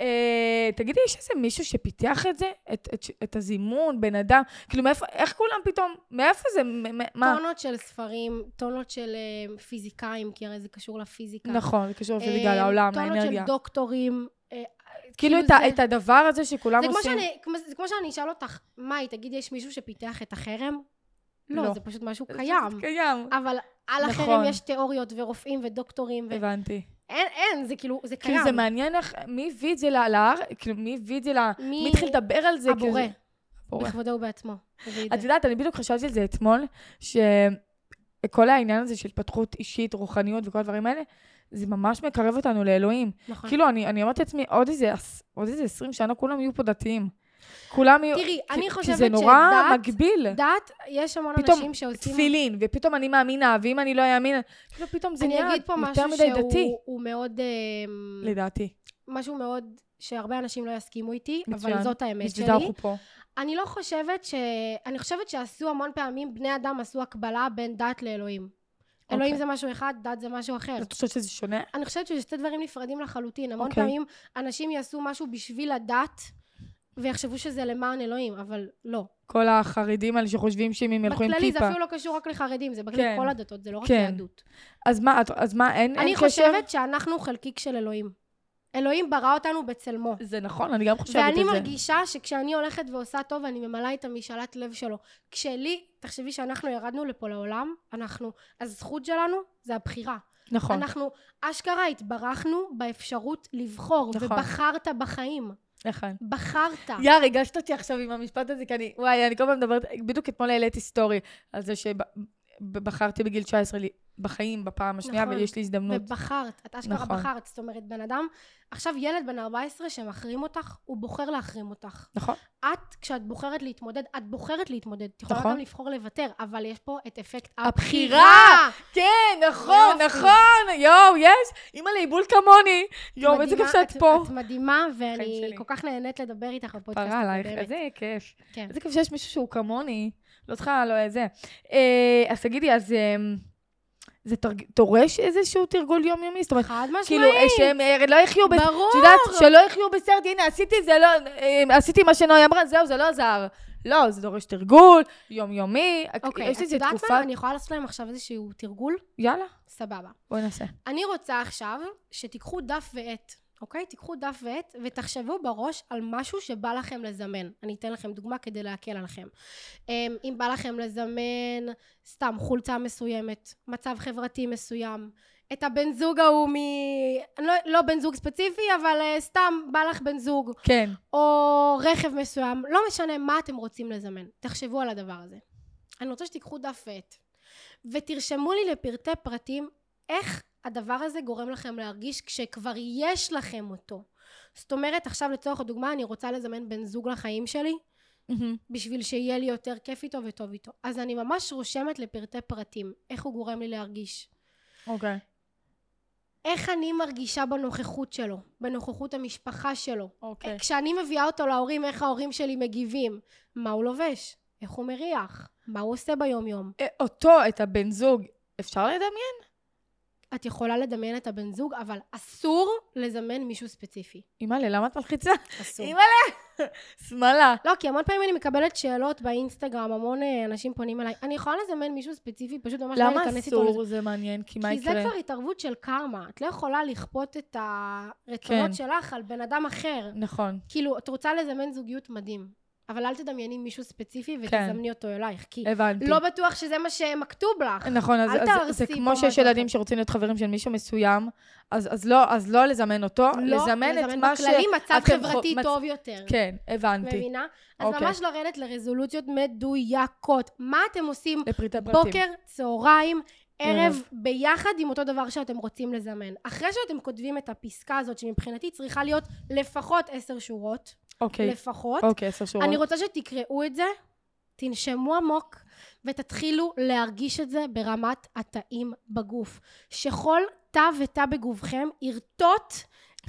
[SPEAKER 2] אה, תגידי, יש איזה מישהו שפיתח את זה? את, את, את הזימון, בן אדם? כאילו, מאיפה, איך כולם פתאום, מאיפה זה, מ- מ- מה?
[SPEAKER 3] טונות של ספרים, טונות של אה, פיזיקאים, כי הרי זה קשור לפיזיקה.
[SPEAKER 2] נכון, זה קשור לפיזיקה,
[SPEAKER 3] אה,
[SPEAKER 2] לעולם,
[SPEAKER 3] טונות של
[SPEAKER 2] לאנרגיה.
[SPEAKER 3] דוקטורים. אה,
[SPEAKER 2] כאילו, את,
[SPEAKER 3] זה-
[SPEAKER 2] ה- את הדבר הזה שכולם
[SPEAKER 3] זה כמו,
[SPEAKER 2] עושים...
[SPEAKER 3] שאני, כמו, זה כמו שאני אשאל אותך, מאי, תגידי, יש מישהו שפיתח את החרם? לא,
[SPEAKER 2] לא.
[SPEAKER 3] זה פשוט משהו קיים.
[SPEAKER 2] קיים.
[SPEAKER 3] אבל על
[SPEAKER 2] נכון.
[SPEAKER 3] החרם יש תיאוריות ורופאים ודוקטורים, ו...
[SPEAKER 2] הבנתי.
[SPEAKER 3] אין, אין, זה כאילו, זה קיים.
[SPEAKER 2] כאילו, זה מעניין איך, מי הביא את זה ל- לארץ? כאילו, מי הביא את זה ל...
[SPEAKER 3] מי
[SPEAKER 2] מי התחיל לדבר על זה? כאילו,
[SPEAKER 3] הבורא,
[SPEAKER 2] זה- כאילו, הבורא.
[SPEAKER 3] בכבודו ובעצמו. הביא את
[SPEAKER 2] את
[SPEAKER 3] זה.
[SPEAKER 2] יודעת, אני בדיוק חשבתי על זה אתמול, שכל העניין הזה של התפתחות אישית, רוחניות וכל הדברים האלה, זה ממש מקרב אותנו לאלוהים.
[SPEAKER 3] נכון.
[SPEAKER 2] כאילו, אני, אני אומרת לעצמי, עוד איזה, עש- עוד איזה 20 שנה כולם יהיו פה דתיים. כולם יהיו...
[SPEAKER 3] תראי,
[SPEAKER 2] כי-
[SPEAKER 3] אני
[SPEAKER 2] כי
[SPEAKER 3] חושבת
[SPEAKER 2] זה נורא
[SPEAKER 3] שדת-
[SPEAKER 2] מגביל.
[SPEAKER 3] דת, יש המון
[SPEAKER 2] פתאום
[SPEAKER 3] אנשים שעושים...
[SPEAKER 2] תפילין, ופתאום אני מאמינה, ואם אני לא אאמין... כאילו פתאום זה נהיה
[SPEAKER 3] אני אגיד פה
[SPEAKER 2] יותר
[SPEAKER 3] משהו
[SPEAKER 2] מדי דתי,
[SPEAKER 3] שהוא הוא מאוד... אמ,
[SPEAKER 2] לדעתי.
[SPEAKER 3] משהו מאוד... שהרבה אנשים לא יסכימו איתי,
[SPEAKER 2] מצוין.
[SPEAKER 3] אבל זאת האמת
[SPEAKER 2] בשביל
[SPEAKER 3] שלי.
[SPEAKER 2] זה אנחנו פה.
[SPEAKER 3] אני לא חושבת ש... אני חושבת שעשו המון פעמים, בני אדם עשו הקבלה בין דת לאלוהים.
[SPEAKER 2] אוקיי.
[SPEAKER 3] אלוהים זה משהו אחד, דת זה משהו אחר.
[SPEAKER 2] אז את חושבת שזה שונה?
[SPEAKER 3] אני חושבת שזה שתי דברים נפרדים לחלוטין. המון
[SPEAKER 2] אוקיי.
[SPEAKER 3] פעמים אנשים יעשו משהו בשביל הדת, ויחשבו שזה למען אלוהים, אבל לא.
[SPEAKER 2] כל החרדים האלה שחושבים שאם הם ילכו עם
[SPEAKER 3] בכללי
[SPEAKER 2] כיפה.
[SPEAKER 3] זה אפילו לא קשור רק לחרדים, זה בכלל
[SPEAKER 2] כן.
[SPEAKER 3] כל הדתות, זה לא רק
[SPEAKER 2] כן.
[SPEAKER 3] יהדות.
[SPEAKER 2] אז מה, את- אז מה, אין אין
[SPEAKER 3] אני
[SPEAKER 2] קשר?
[SPEAKER 3] חושבת שאנחנו חלקיק של אלוהים. אלוהים ברא אותנו בצלמו.
[SPEAKER 2] זה נכון, אני גם חושבת את זה.
[SPEAKER 3] ואני מרגישה שכשאני הולכת ועושה טוב, אני ממלאה את המשאלת לב שלו. כשלי, תחשבי שאנחנו ירדנו לפה לעולם, אנחנו, הזכות שלנו זה הבחירה.
[SPEAKER 2] נכון,
[SPEAKER 3] אנחנו אשכרה התברכנו באפשרות לבחור,
[SPEAKER 2] נכון.
[SPEAKER 3] ובחרת בחיים.
[SPEAKER 2] נכון.
[SPEAKER 3] בחרת.
[SPEAKER 2] יא, ריגשת אותי עכשיו עם המשפט הזה, כי אני, וואי, אני כל פעם מדברת, בדיוק אתמול העליתי סטורי על זה שבחרתי בגיל 19 לי- בחיים בפעם השנייה,
[SPEAKER 3] נכון.
[SPEAKER 2] ויש לי הזדמנות.
[SPEAKER 3] ובחרת, את אשכרה
[SPEAKER 2] נכון.
[SPEAKER 3] בחרת, זאת אומרת, בן אדם, עכשיו ילד בן 14 שמחרים אותך, הוא בוחר להחרים אותך.
[SPEAKER 2] נכון,
[SPEAKER 3] את, כשאת בוחרת להתמודד, את בוחרת להתמודד. את יכולה
[SPEAKER 2] נכון.
[SPEAKER 3] גם לבחור לוותר, אבל יש פה את אפקט
[SPEAKER 2] הבחירה!
[SPEAKER 3] הבחירה.
[SPEAKER 2] כן, נכון,
[SPEAKER 3] יופי.
[SPEAKER 2] נכון, יואו, יש, אימא לעיבול כמוני, יואו, איזה כיף
[SPEAKER 3] מדהימה,
[SPEAKER 2] שאת פה.
[SPEAKER 3] את מדהימה,
[SPEAKER 2] חיים
[SPEAKER 3] ואני
[SPEAKER 2] שלי.
[SPEAKER 3] כל כך נהנית לדבר איתך בפודקאסט.
[SPEAKER 2] פרה עלייך,
[SPEAKER 3] הקודמת.
[SPEAKER 2] איזה כיף.
[SPEAKER 3] כן.
[SPEAKER 2] איזה כיף שיש מישהו שהוא כמוני, לא צריכה, לא זה. אה, אז תגידי, אז אה, זה תרג- דורש איזשהו תרגול יומיומי? זאת אומרת,
[SPEAKER 3] חד
[SPEAKER 2] כאילו,
[SPEAKER 3] משמעית.
[SPEAKER 2] אה, שהם אה, לא יחיו בס-
[SPEAKER 3] ברור.
[SPEAKER 2] את יודעת, שלא יחיו בסרט, הנה, עשיתי זה לא, אה, עשיתי מה שנוי אמרה, זהו, זה לא עזר. לא, זה דורש תרגול, יומיומי,
[SPEAKER 3] אוקיי,
[SPEAKER 2] יש
[SPEAKER 3] את
[SPEAKER 2] איזו
[SPEAKER 3] יודעת
[SPEAKER 2] תקופה,
[SPEAKER 3] מה? אני יכולה לעשות להם עכשיו איזשהו תרגול?
[SPEAKER 2] יאללה,
[SPEAKER 3] סבבה.
[SPEAKER 2] בואי נעשה.
[SPEAKER 3] אני רוצה עכשיו שתיקחו דף ועט, אוקיי? תיקחו דף ועט ותחשבו בראש על משהו שבא לכם לזמן. אני אתן לכם דוגמה כדי להקל עליכם. אמ, אם בא לכם לזמן סתם חולצה מסוימת, מצב חברתי מסוים, את הבן זוג ההוא מ... אני לא, לא בן זוג ספציפי, אבל אה, סתם בא לך בן זוג,
[SPEAKER 2] כן.
[SPEAKER 3] או רכב מסוים, לא משנה מה אתם רוצים לזמן. תחשבו על הדבר הזה. אני רוצה שתיקחו דף ועט ותרשמו לי לפרטי פרטים איך הדבר הזה גורם לכם להרגיש כשכבר יש לכם אותו. זאת אומרת, עכשיו לצורך הדוגמה, אני רוצה לזמן בן זוג לחיים שלי,
[SPEAKER 2] מהמם.
[SPEAKER 3] בשביל שיהיה לי יותר כיף איתו וטוב איתו. אז אני ממש רושמת לפרטי פרטים, איך הוא גורם לי להרגיש.
[SPEAKER 2] אוקיי.
[SPEAKER 3] איך אני מרגישה בנוכחות שלו, בנוכחות המשפחה שלו.
[SPEAKER 2] אוקיי.
[SPEAKER 3] אה, כשאני מביאה אותו להורים, איך ההורים שלי מגיבים. מה הוא לובש? איך הוא מריח? מה הוא עושה ביום יום?
[SPEAKER 2] אה, אותו, את הבן זוג, אפשר לדמיין?
[SPEAKER 3] את יכולה לדמיין את הבן זוג, אבל אסור לזמן מישהו ספציפי.
[SPEAKER 2] אימא'לה, למה את מלחיצה?
[SPEAKER 3] אסור.
[SPEAKER 2] אימא'לה! שמאלה.
[SPEAKER 3] לא, כי המון פעמים אני מקבלת שאלות באינסטגרם, המון אה, אנשים פונים אליי. אני יכולה לזמן מישהו ספציפי, פשוט ממש לא
[SPEAKER 2] למה
[SPEAKER 3] להיכנס איתו לזה.
[SPEAKER 2] אסור? זה מעניין, כי מה
[SPEAKER 3] כי זה
[SPEAKER 2] יקרה?
[SPEAKER 3] כבר התערבות של קרמה. את לא יכולה לכפות את הרצונות
[SPEAKER 2] כן.
[SPEAKER 3] שלך על בן אדם אחר.
[SPEAKER 2] נכון.
[SPEAKER 3] כאילו, את רוצה לזמן זוגיות מדהים, אבל אל תדמייני מישהו ספציפי
[SPEAKER 2] כן.
[SPEAKER 3] ותזמני אותו אלייך, כי
[SPEAKER 2] הבנתי.
[SPEAKER 3] לא בטוח שזה מה שמכתוב לך.
[SPEAKER 2] נכון, אז,
[SPEAKER 3] אל
[SPEAKER 2] אז זה
[SPEAKER 3] תהרסי פה
[SPEAKER 2] כמו שיש
[SPEAKER 3] משהו.
[SPEAKER 2] ילדים שרוצים להיות חברים של מישהו מסוים, אז, אז, לא, אז לא לזמן אותו,
[SPEAKER 3] לא,
[SPEAKER 2] לזמן את מה ש...
[SPEAKER 3] בכללי מצב
[SPEAKER 2] אתם חו-
[SPEAKER 3] חברתי
[SPEAKER 2] מצ-
[SPEAKER 3] טוב יותר.
[SPEAKER 2] כן, הבנתי.
[SPEAKER 3] מבינה? אז
[SPEAKER 2] אוקיי.
[SPEAKER 3] ממש לרדת לרזולוציות מדויקות. מה אתם עושים
[SPEAKER 2] לפרטי פרטים. Mm.
[SPEAKER 3] בוקר, צהריים, ערב,
[SPEAKER 2] ערב.
[SPEAKER 3] ביחד עם אותו דבר שאתם רוצים לזמן. אחרי שאתם כותבים את הפסקה הזאת, שמבחינתי צריכה להיות לפחות עשר שורות,
[SPEAKER 2] אוקיי,
[SPEAKER 3] לפחות,
[SPEAKER 2] אוקיי, עשר שורות.
[SPEAKER 3] אני רוצה שתקראו את זה, תנשמו עמוק, ותתחילו להרגיש את זה ברמת התאים בגוף. שכל תא ותא בגופכם ירטוט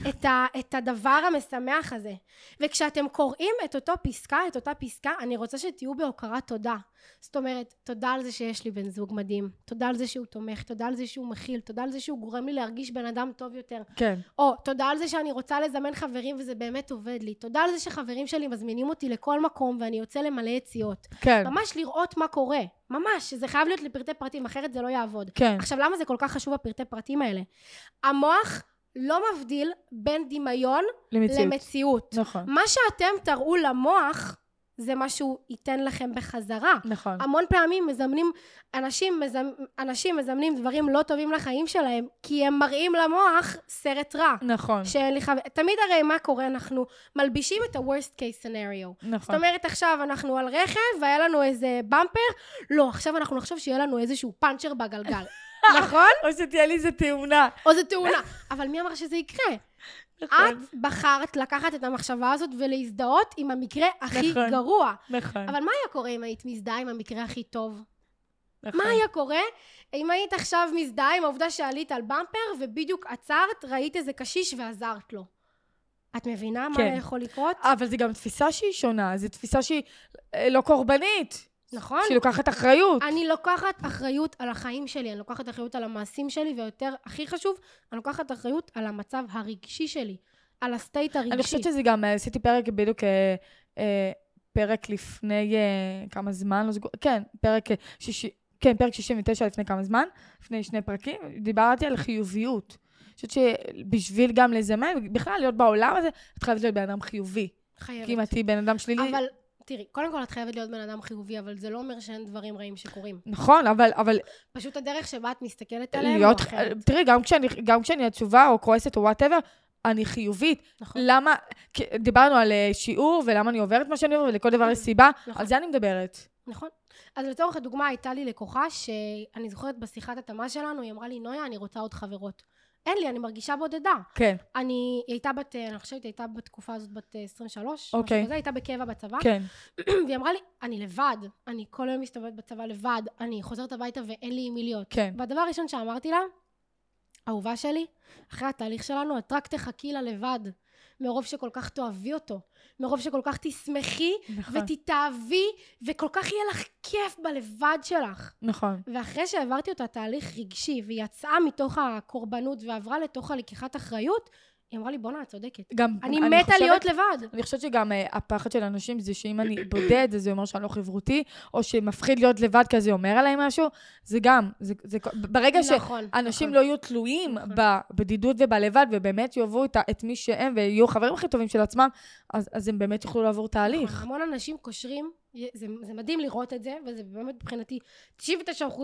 [SPEAKER 3] את, ה, את הדבר המשמח הזה. וכשאתם קוראים את אותו פסקה, את אותה פסקה, אני רוצה שתהיו בהוקרת תודה. זאת אומרת, תודה על זה שיש לי בן זוג מדהים, תודה על זה שהוא תומך, תודה על זה שהוא מכיל, תודה על זה שהוא גורם לי להרגיש בן אדם טוב יותר,
[SPEAKER 2] כן,
[SPEAKER 3] או, תודה על זה שאני רוצה לזמן חברים וזה באמת עובד לי. תודה על זה שחברים שלי מזמינים אותי לכל מקום ואני יוצא למלא יציאות.
[SPEAKER 2] כן,
[SPEAKER 3] ממש לראות מה קורה. ממש, זה חייב להיות לפרטי פרטים, אחרת זה לא יעבוד.
[SPEAKER 2] כן.
[SPEAKER 3] עכשיו, למה זה כל כך חשוב הפרטי פרטים האלה? המוח לא מבדיל בין דמיון
[SPEAKER 2] למציאות.
[SPEAKER 3] למציאות.
[SPEAKER 2] נכון,
[SPEAKER 3] מה שאתם תראו למוח, זה מה שהוא ייתן לכם בחזרה.
[SPEAKER 2] נכון.
[SPEAKER 3] המון פעמים מזמנים, אנשים, מזמ, אנשים מזמנים דברים לא טובים לחיים שלהם, כי הם מראים למוח סרט רע.
[SPEAKER 2] נכון,
[SPEAKER 3] שאין לי חבר... תמיד הרי מה קורה? אנחנו מלבישים את ה-worst case scenario. זאת
[SPEAKER 2] נכון.
[SPEAKER 3] אומרת, עכשיו אנחנו על רכב, והיה לנו איזה במפר, לא, עכשיו אנחנו נחשוב שיהיה לנו איזשהו פאנצ'ר בגלגל, נכון? אה?
[SPEAKER 2] או שתהיה לי איזה תאונה. כן.
[SPEAKER 3] או זו תאונה. אבל מי אמר שזה יקרה?
[SPEAKER 2] נכון,
[SPEAKER 3] את בחרת לקחת את המחשבה הזאת ולהזדהות עם המקרה הכי
[SPEAKER 2] נכון.
[SPEAKER 3] גרוע.
[SPEAKER 2] נכון,
[SPEAKER 3] אבל מה היה קורה אם היית מזדהה עם המקרה הכי טוב?
[SPEAKER 2] נכון.
[SPEAKER 3] מה היה קורה אם היית עכשיו מזדהה עם העובדה שעלית על במפר ובדיוק עצרת, ראית איזה קשיש ועזרת לו? את מבינה מה
[SPEAKER 2] כן.
[SPEAKER 3] יכול לקרות?
[SPEAKER 2] אבל זו גם תפיסה שהיא שונה, זו תפיסה שהיא אה, לא קורבנית,
[SPEAKER 3] נכון?
[SPEAKER 2] שהיא לוקחת אחריות.
[SPEAKER 3] אני לוקחת אחריות על החיים שלי, אני לוקחת אחריות על המעשים שלי, ויותר, הכי חשוב, אני לוקחת אחריות על המצב הרגשי שלי, על הסטייט הרגשי.
[SPEAKER 2] אני חושבת שזה גם, אה, עשיתי פרק בדיוק, אה, אה, פרק לפני אה, כמה זמן, לא זוכר, כן, פרק אה, שישי, כן, פרק 69 לפני כמה זמן, לפני שני פרקים, דיברתי על חיוביות. אני חושבת שבשביל גם לזמן, בכלל להיות בעולם הזה, את חייבת להיות בן אדם חיובי.
[SPEAKER 3] חייבת.
[SPEAKER 2] כי אם את תהיי בן אדם שלילי...
[SPEAKER 3] אבל תראי, קודם כל את חייבת להיות בן אדם חיובי, אבל זה לא אומר שאין דברים רעים שקורים.
[SPEAKER 2] נכון, אבל, אבל
[SPEAKER 3] פשוט הדרך שבה את מסתכלת עליהם הוא
[SPEAKER 2] להיות...
[SPEAKER 3] אחרת.
[SPEAKER 2] תראי, גם כשאני, גם כשאני עצובה או כועסת או וואטאבר, אני חיובית.
[SPEAKER 3] נכון.
[SPEAKER 2] למה... כי דיברנו על אה, שיעור ולמה אני עוברת מה שאני עוברת, ולכל דבר יש סיבה, על זה אני מדברת.
[SPEAKER 3] נכון. אז לצורך הדוגמה, הייתה לי לקוחה שאני זוכרת בשיחת התאמה שלנו, היא אמרה לי, נויה, אני רוצה עוד חברות. אין לי, אני מרגישה בודדה.
[SPEAKER 2] כן,
[SPEAKER 3] אני, היא הייתה בת, אה, אני חושבת, היא הייתה בתקופה הזאת בת אה, 23,
[SPEAKER 2] אוקיי.
[SPEAKER 3] משהו כזה, הייתה בקבע בצבא.
[SPEAKER 2] כן.
[SPEAKER 3] והיא אמרה לי, אני לבד, אני כל היום מסתובבת בצבא לבד, אני חוזרת הביתה ואין לי עם מי להיות.
[SPEAKER 2] כן.
[SPEAKER 3] והדבר הראשון שאמרתי לה, אהובה שלי, אחרי התהליך שלנו, את רק תחכי לה לבד, מרוב שכל כך תאהבי אותו, מרוב שכל כך תשמחי,
[SPEAKER 2] נכון.
[SPEAKER 3] ותתאהבי, וכל כך יהיה לך כיף בלבד שלך.
[SPEAKER 2] נכון.
[SPEAKER 3] ואחרי שהעברתי אותה תהליך רגשי, והיא יצאה מתוך הקורבנות ועברה לתוך הלקיחת אחריות, היא אמרה לי, בואנה, את צודקת.
[SPEAKER 2] גם...
[SPEAKER 3] אני מתה
[SPEAKER 2] חושבת-
[SPEAKER 3] להיות לבד.
[SPEAKER 2] אני חושבת שגם אה, הפחד של אנשים זה שאם אני בודד, אז זה אומר שאני לא חברותי, או שמפחיד להיות לבד כי אז זה אומר עליי משהו, זה גם, זה, זה, ברגע
[SPEAKER 3] נכון,
[SPEAKER 2] שאנשים
[SPEAKER 3] נכון.
[SPEAKER 2] לא יהיו תלויים בבדידות ובלבד, ובאמת יאהבו את, ה- את מי שהם, ויהיו חברים הכי טובים של עצמם, אז, אז הם באמת יוכלו לעבור
[SPEAKER 3] נכון,
[SPEAKER 2] תהליך.
[SPEAKER 3] המון אנשים קושרים, זה, זה מדהים לראות את זה, וזה באמת מבחינתי 99%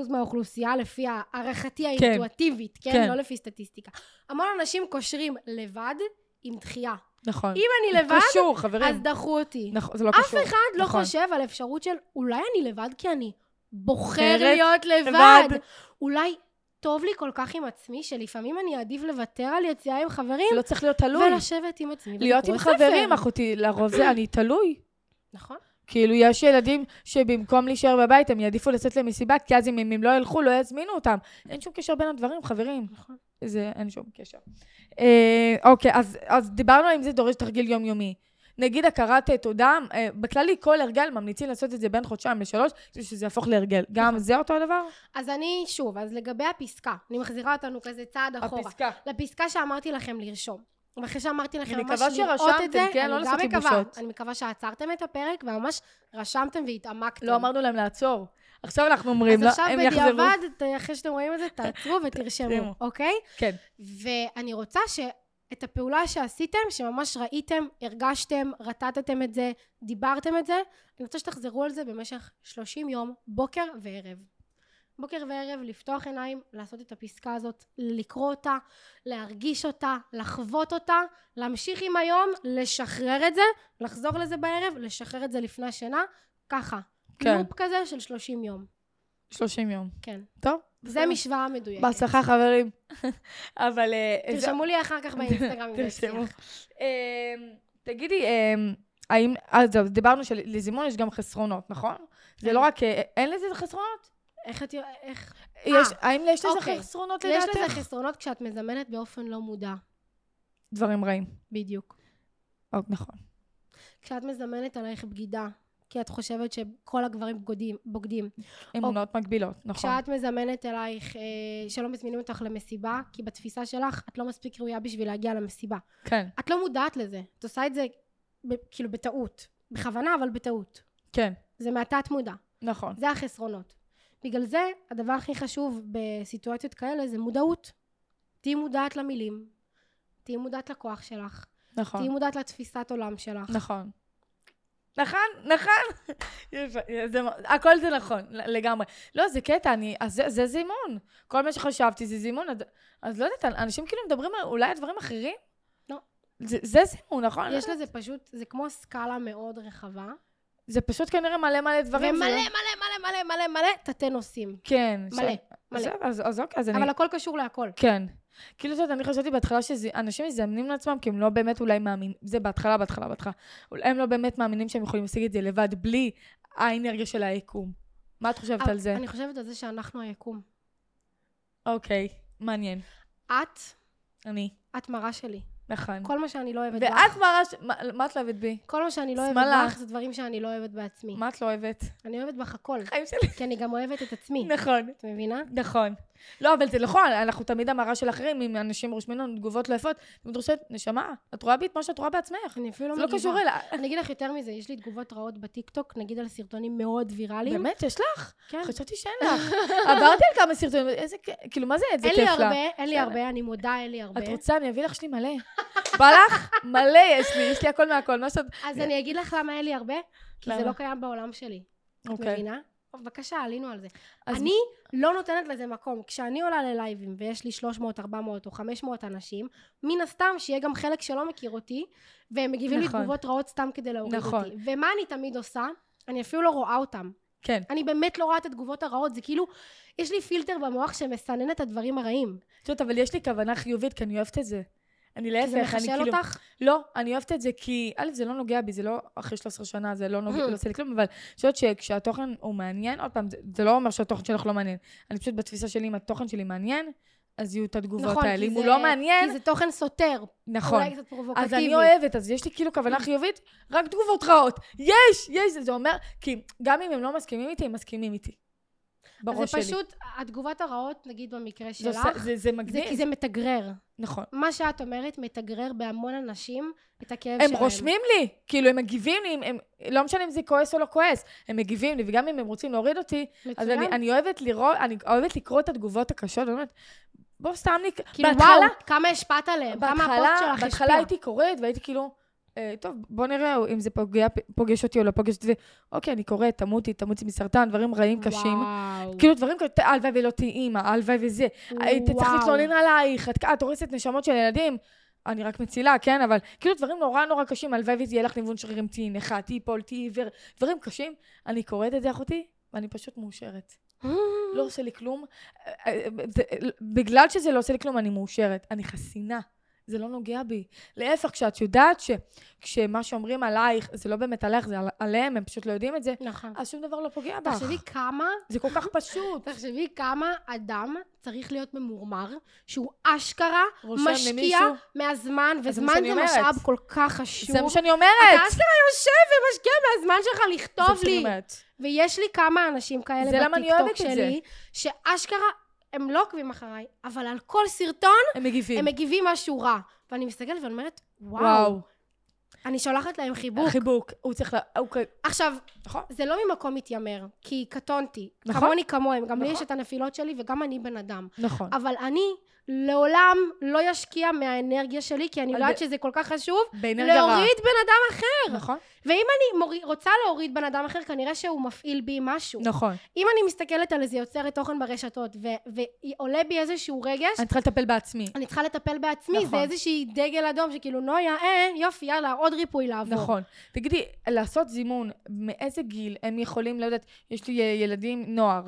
[SPEAKER 3] מהאוכלוסייה לפי הערכתי האינטואטיבית, כן?
[SPEAKER 2] כן.
[SPEAKER 3] לא לפי סטטיסטיקה. המון אנשים קושרים לבד עם דחייה.
[SPEAKER 2] נכון.
[SPEAKER 3] אם אני לבד,
[SPEAKER 2] קשור,
[SPEAKER 3] אז
[SPEAKER 2] חברים.
[SPEAKER 3] דחו אותי.
[SPEAKER 2] נכון, זה לא
[SPEAKER 3] אף
[SPEAKER 2] קשור.
[SPEAKER 3] אחד לא
[SPEAKER 2] נכון.
[SPEAKER 3] חושב על אפשרות של אולי אני לבד כי אני בוחר
[SPEAKER 2] בוחרת
[SPEAKER 3] להיות
[SPEAKER 2] לבד.
[SPEAKER 3] לבד. אולי טוב לי כל כך עם עצמי, שלפעמים אני אעדיף לוותר על יציאה עם חברים,
[SPEAKER 2] לא צריך להיות תלוי.
[SPEAKER 3] ולשבת עם עצמי.
[SPEAKER 2] להיות
[SPEAKER 3] ולקרוא
[SPEAKER 2] עם
[SPEAKER 3] ספר.
[SPEAKER 2] חברים, אחותי, לרוב זה אני תלוי.
[SPEAKER 3] נכון.
[SPEAKER 2] כאילו, יש ילדים שבמקום להישאר בבית, הם יעדיפו לצאת למסיבה, כי אז אם הם הם לא ילכו, לא יזמינו אותם. אין שום קשר בין הדברים, חברים.
[SPEAKER 3] נכון.
[SPEAKER 2] זה, אין שום קשר. אה, אוקיי, אז, אז דיברנו על אם זה דורש תרגיל יומיומי. נגיד הכרת אה, תודה, אה, בכללי כל הרגל ממליצים לעשות את זה בין חודשיים לשלוש, כדי שזה יהפוך להרגל. גם זה אותו הדבר?
[SPEAKER 3] אז אני, שוב, אז לגבי הפסקה, אני מחזירה אותנו כזה צעד אחורה.
[SPEAKER 2] הפסקה.
[SPEAKER 3] לפסקה שאמרתי לכם לרשום. ואחרי שאמרתי לכם
[SPEAKER 2] אני
[SPEAKER 3] ממש
[SPEAKER 2] מקווה
[SPEAKER 3] לראות
[SPEAKER 2] שרשמתם,
[SPEAKER 3] את זה,
[SPEAKER 2] כן?
[SPEAKER 3] אני
[SPEAKER 2] לא
[SPEAKER 3] גם
[SPEAKER 2] לעשות
[SPEAKER 3] מקווה.
[SPEAKER 2] ייבושות.
[SPEAKER 3] אני מקווה שעצרתם את הפרק וממש רשמתם והתעמקתם.
[SPEAKER 2] לא אמרנו להם לעצור. עכשיו אנחנו אומרים,
[SPEAKER 3] אז
[SPEAKER 2] לא,
[SPEAKER 3] עכשיו
[SPEAKER 2] הם יחזרו.
[SPEAKER 3] בדיעבד, ת- אחרי שאתם רואים את זה, תעצרו
[SPEAKER 2] תרשמו.
[SPEAKER 3] ותרשמו, אוקיי?
[SPEAKER 2] כן.
[SPEAKER 3] ואני רוצה ש... את הפעולה שעשיתם, שממש ראיתם, הרגשתם, רטטתם את זה, דיברתם את זה, אני רוצה שתחזרו על זה במשך 30 יום, בוקר וערב. בוקר וערב, לפתוח עיניים, לעשות את הפסקה הזאת, לקרוא אותה, להרגיש אותה, לחוות אותה, להמשיך עם היום, לשחרר את זה, לחזור לזה בערב, לשחרר את זה לפני השינה, ככה.
[SPEAKER 2] כן.
[SPEAKER 3] כן. לופ כזה של 30 יום.
[SPEAKER 2] 30 יום.
[SPEAKER 3] כן.
[SPEAKER 2] טוב?
[SPEAKER 3] זה משוואה מדויקת.
[SPEAKER 2] בהצלחה, חברים. אבל... אה, זה-
[SPEAKER 3] תרשמו לי אחר כך באינסטגרם. אם זה
[SPEAKER 2] תרשמו.
[SPEAKER 3] הצליח.
[SPEAKER 2] אמ, תגידי, אמ, האם, אז זהו, דיברנו שלזימון יש גם חסרונות, נכון? זה לא רק, אה, אין לזה חסרונות?
[SPEAKER 3] איך את... י- איך...
[SPEAKER 2] יש, האם יש לזה
[SPEAKER 3] אה, אוקיי.
[SPEAKER 2] חסרונות
[SPEAKER 3] יש לזה
[SPEAKER 2] לדעתך?
[SPEAKER 3] חסרונות כשאת מזמנת באופן לא מודע.
[SPEAKER 2] דברים רעים.
[SPEAKER 3] בדיוק.
[SPEAKER 2] אוק, נכון.
[SPEAKER 3] כשאת מזמנת עלייך בגידה, כי את חושבת שכל הגברים בוגדים. בוגדים.
[SPEAKER 2] אמונות מגבילות, נכון.
[SPEAKER 3] כשאת מזמנת אלייך, אה, שלא מזמינים אותך למסיבה, כי בתפיסה שלך את לא מספיק ראויה בשביל להגיע למסיבה.
[SPEAKER 2] כן,
[SPEAKER 3] את לא מודעת לזה. את עושה את זה ב- כאילו בטעות. בכוונה, אבל בטעות.
[SPEAKER 2] כן,
[SPEAKER 3] זה מהתת מודע.
[SPEAKER 2] נכון.
[SPEAKER 3] זה החסרונות. בגלל זה, הדבר הכי חשוב בסיטואציות כאלה זה מודעות. תהיי מודעת למילים, תהיי מודעת לכוח שלך,
[SPEAKER 2] נכון.
[SPEAKER 3] תהיי מודעת לתפיסת עולם שלך.
[SPEAKER 2] נכון. נכון, נכון. יפה, זה מ- הכל זה נכון, ל- לגמרי. לא, זה קטע, אני, אז זה, זה זימון. כל מה שחשבתי זה זימון, אז, אז לא יודעת, אנשים כאילו מדברים על אולי על דברים אחרים?
[SPEAKER 3] לא.
[SPEAKER 2] זה, זה זימון, נכון?
[SPEAKER 3] יש לזה פשוט, זה כמו סקאלה מאוד רחבה.
[SPEAKER 2] זה פשוט כנראה מלא מלא דברים.
[SPEAKER 3] ומלא
[SPEAKER 2] זה לא-
[SPEAKER 3] מלא מלא מלא מלא מלא תתי נושאים.
[SPEAKER 2] כן.
[SPEAKER 3] מלא,
[SPEAKER 2] ש-
[SPEAKER 3] מלא.
[SPEAKER 2] אז- אז אוקיי, אז אני...
[SPEAKER 3] אבל הכל קשור להכל.
[SPEAKER 2] כן. כאילו שאת, אני חשבתי בהתחלה שאנשים מזמנים לעצמם כי הם לא באמת אולי מאמינים, זה בהתחלה, בהתחלה, בהתחלה. אולי הם לא באמת מאמינים שהם יכולים להשיג את זה לבד, בלי האנרגיה של היקום. מה את חושבת על זה?
[SPEAKER 3] אני חושבת על זה שאנחנו היקום.
[SPEAKER 2] אוקיי, מעניין.
[SPEAKER 3] את,
[SPEAKER 2] אני.
[SPEAKER 3] את מראה שלי.
[SPEAKER 2] נכון.
[SPEAKER 3] כל מה שאני לא אוהבת
[SPEAKER 2] ואת
[SPEAKER 3] בך,
[SPEAKER 2] מראה, ש- מה- מה את לא אוהבת בי?
[SPEAKER 3] כל מה שאני לא אוהבת
[SPEAKER 2] שמאלה.
[SPEAKER 3] בך, זה דברים שאני לא אוהבת בעצמי.
[SPEAKER 2] מה את לא אוהבת?
[SPEAKER 3] אני אוהבת בך הכל,
[SPEAKER 2] חיים שלי.
[SPEAKER 3] כי אני גם אוהבת את עצמי.
[SPEAKER 2] נכון.
[SPEAKER 3] את מבינה?
[SPEAKER 2] נכון. לא, אבל זה נכון, אנחנו תמיד המראה של אחרים, אם אנשים רושמים לנו תגובות לא יפות, את חושבת, נשמה, את רואה בי את מה שאת רואה בעצמך.
[SPEAKER 3] אני אפילו לא
[SPEAKER 2] זה לא
[SPEAKER 3] מגיבה.
[SPEAKER 2] קשור אליה.
[SPEAKER 3] אני אגיד לך יותר מזה, יש לי תגובות רעות בטיקטוק, נגיד על סרטונים מאוד ויראליים.
[SPEAKER 2] באמת, יש לך?
[SPEAKER 3] כן.
[SPEAKER 2] חשבתי שאין לך. עברתי על כמה סרטונים, איזה כ- כאילו, מה זה איזה
[SPEAKER 3] אין
[SPEAKER 2] כיף
[SPEAKER 3] לי
[SPEAKER 2] לה?
[SPEAKER 3] הרבה, אין לי הרבה, אני מודה, אין לי הרבה.
[SPEAKER 2] את רוצה, אני אביא לך שלי מלא. בא לך? מלא יש לי, יש לי הכל מהכל, מה שאת...
[SPEAKER 3] אז אני אגיד לך למה אין לי הרבה, כי זה
[SPEAKER 2] למה?
[SPEAKER 3] לא קיים בעולם שלי. את
[SPEAKER 2] אוקיי.
[SPEAKER 3] מבינה? טוב, בבקשה, עלינו על זה.
[SPEAKER 2] אז-
[SPEAKER 3] אני לא נותנת לזה מקום. כשאני עולה ללייבים ויש לי 300, 400 או 500 אנשים, מן הסתם שיהיה גם חלק שלא מכיר אותי, והם מגיבים לי
[SPEAKER 2] נכון.
[SPEAKER 3] תגובות רעות סתם כדי להוריד
[SPEAKER 2] נכון.
[SPEAKER 3] אותי. ומה אני תמיד עושה? אני אפילו לא רואה אותם.
[SPEAKER 2] כן.
[SPEAKER 3] אני באמת לא רואה את התגובות הרעות, זה כאילו, יש לי פילטר במוח שמסנן את הדברים הרעים.
[SPEAKER 2] את יודעת, אבל יש לי כוונה חיובית, כי אני אוהבת את זה. אני
[SPEAKER 3] כי זה
[SPEAKER 2] להפך, אני
[SPEAKER 3] מחשל
[SPEAKER 2] כאילו...
[SPEAKER 3] אותך?
[SPEAKER 2] לא, אני אוהבת את זה כי, א', זה לא נוגע בי, זה לא אחרי 13 שנה, זה לא נוגע,
[SPEAKER 3] Mhm.
[SPEAKER 2] לא עושה לי כלום, אבל אני חושבת שכשהתוכן הוא מעניין, עוד פעם, זה, זה לא אומר שהתוכן שלך לא מעניין. אני פשוט בתפיסה שלי, אם התוכן שלי מעניין, אז יהיו את התגובות
[SPEAKER 3] נכון,
[SPEAKER 2] האלה.
[SPEAKER 3] כי
[SPEAKER 2] אם הוא
[SPEAKER 3] זה-
[SPEAKER 2] לא מעניין,
[SPEAKER 3] כי זה תוכן סותר,
[SPEAKER 2] נכון.
[SPEAKER 3] אולי קצת פרובוקטיבי.
[SPEAKER 2] אז אני אוהבת, אז יש לי כאילו כוונה חיובית, רק תגובות רעות. יש, יש, זה- זה אומר, כי גם אם הם לא מסכימים איתי, הם מסכימים איתי. בראש שלי.
[SPEAKER 3] זה פשוט, התגובות הרעות, נגיד במקרה
[SPEAKER 2] זה
[SPEAKER 3] שלך,
[SPEAKER 2] עושה- זה- זה
[SPEAKER 3] זה כי
[SPEAKER 2] מגניב.
[SPEAKER 3] זה מתגרר.
[SPEAKER 2] נכון.
[SPEAKER 3] מה שאת אומרת מתגרר בהמון אנשים את הכאב
[SPEAKER 2] הם
[SPEAKER 3] שלהם.
[SPEAKER 2] רושמים לי, כאילו, הם מגיבים לי, הם- הם, לא משנה אם זה כועס או לא כועס, הם מגיבים לי, וגם אם הם רוצים להוריד אותי, אז
[SPEAKER 3] מצוין.
[SPEAKER 2] אני, אני אוהבת לראות, אני אוהבת לקרוא את התגובות הקשות, אני אומרת, בוא סתם לי,
[SPEAKER 3] כאילו, וואו, כמה השפעת עליהם, כמה
[SPEAKER 2] אה, בהתחלה,
[SPEAKER 3] הפוסט שלך השפיע.
[SPEAKER 2] בהתחלה הייתי קוראת והייתי כאילו, אה, טוב, בוא נראה אם זה פוגע, פוגש אותי או לא פוגש אותי, אוקיי, אני קוראת, תמותי, תמותי מסרטן, דברים רעים קשים.
[SPEAKER 3] וואו.
[SPEAKER 2] כאילו דברים כאלה, "ת- הלוואי ולא תהיי אימא, הלוואי וזה. היית כאילו, צריך
[SPEAKER 3] וואו.
[SPEAKER 2] להתלונן עלייך, את, את הורסת נשמות של ילדים. אני רק מצילה, כן? אבל כאילו דברים נורא נורא קשים, הלוואי ותהיה לך ניוון שרירים, תהיי נכה, תהיי פול, תהיי עיוור, דברים קשים. אני קוראת את זה, אחותי, ואני פשוט מאושרת. לא עושה לי כלום. אה, אה, זה- בגלל שזה לא עושה לי כלום, אני מאושרת. אני חסינה. זה לא נוגע בי. להפך, כשאת יודעת ש- כשמה שאומרים עלייך, זה לא באמת עלייך, זה על- עליהם, הם פשוט לא יודעים את זה,
[SPEAKER 3] נכון.
[SPEAKER 2] אז שום דבר לא פוגע בך.
[SPEAKER 3] תחשבי כמה,
[SPEAKER 2] זה כל כך פשוט.
[SPEAKER 3] תחשבי כמה אדם צריך להיות ממורמר, שהוא אשכרה
[SPEAKER 2] רושם
[SPEAKER 3] משקיע
[SPEAKER 2] למישהו.
[SPEAKER 3] מהזמן,
[SPEAKER 2] מה
[SPEAKER 3] וזמן
[SPEAKER 2] שאני
[SPEAKER 3] זה
[SPEAKER 2] אומרת.
[SPEAKER 3] משאב כל כך
[SPEAKER 2] זה מה
[SPEAKER 3] חשוב.
[SPEAKER 2] שאני
[SPEAKER 3] אתה
[SPEAKER 2] אומרת.
[SPEAKER 3] אשכרה יושב ומשקיע מהזמן שלך
[SPEAKER 2] זה מה
[SPEAKER 3] לכתוב
[SPEAKER 2] שאני
[SPEAKER 3] לי.
[SPEAKER 2] אומרת.
[SPEAKER 3] ויש לי כמה אנשים כאלה
[SPEAKER 2] זה למה אני
[SPEAKER 3] בטיקטוק
[SPEAKER 2] אוהבת את זה.
[SPEAKER 3] שלי, שאשכרה הם לא עוקבים אחריי, אבל על כל סרטון
[SPEAKER 2] הם מגיבים.
[SPEAKER 3] הם מגיבים משהו רע. ואני מסתכלת ואני אומרת, וואו,
[SPEAKER 2] כן. וואו.
[SPEAKER 3] אני שולחת להם חיבוק.
[SPEAKER 2] חיבוק. הוא צריך ל... הוא כ-
[SPEAKER 3] עכשיו,
[SPEAKER 2] נכון.
[SPEAKER 3] זה לא ממקום מתיימר, כי קטונתי.
[SPEAKER 2] נכון.
[SPEAKER 3] כמוני כמוהם, גם לי
[SPEAKER 2] נכון.
[SPEAKER 3] יש את הנפילות שלי וגם אני בן אדם.
[SPEAKER 2] נכון.
[SPEAKER 3] אבל אני לעולם לא אשקיע מהאנרגיה שלי, כי אני
[SPEAKER 2] אבל
[SPEAKER 3] יודעת
[SPEAKER 2] ב-
[SPEAKER 3] שזה כל כך חשוב,
[SPEAKER 2] באנרגיה רעה.
[SPEAKER 3] להוריד בן אדם אחר.
[SPEAKER 2] נכון.
[SPEAKER 3] ואם אני מוריד- רוצה להוריד בן אדם אחר, כנראה שהוא מפעיל בי משהו.
[SPEAKER 2] נכון.
[SPEAKER 3] אם אני מסתכלת על איזה יוצרת תוכן ברשתות, ו- ועולה בי איזשהו רגש,
[SPEAKER 2] אני צריכה לטפל בעצמי.
[SPEAKER 3] אני צריכה לטפל בעצמי,
[SPEAKER 2] נכון.
[SPEAKER 3] זה איזושהי דגל אדום שכאילו נויה, אה, יופי, יאללה, עוד ריפוי לעבור.
[SPEAKER 2] נכון. תגידי, לעשות זימון, מאיזה גיל הם יכולים, לא יודעת, יש לי אה, ילדים, נוער.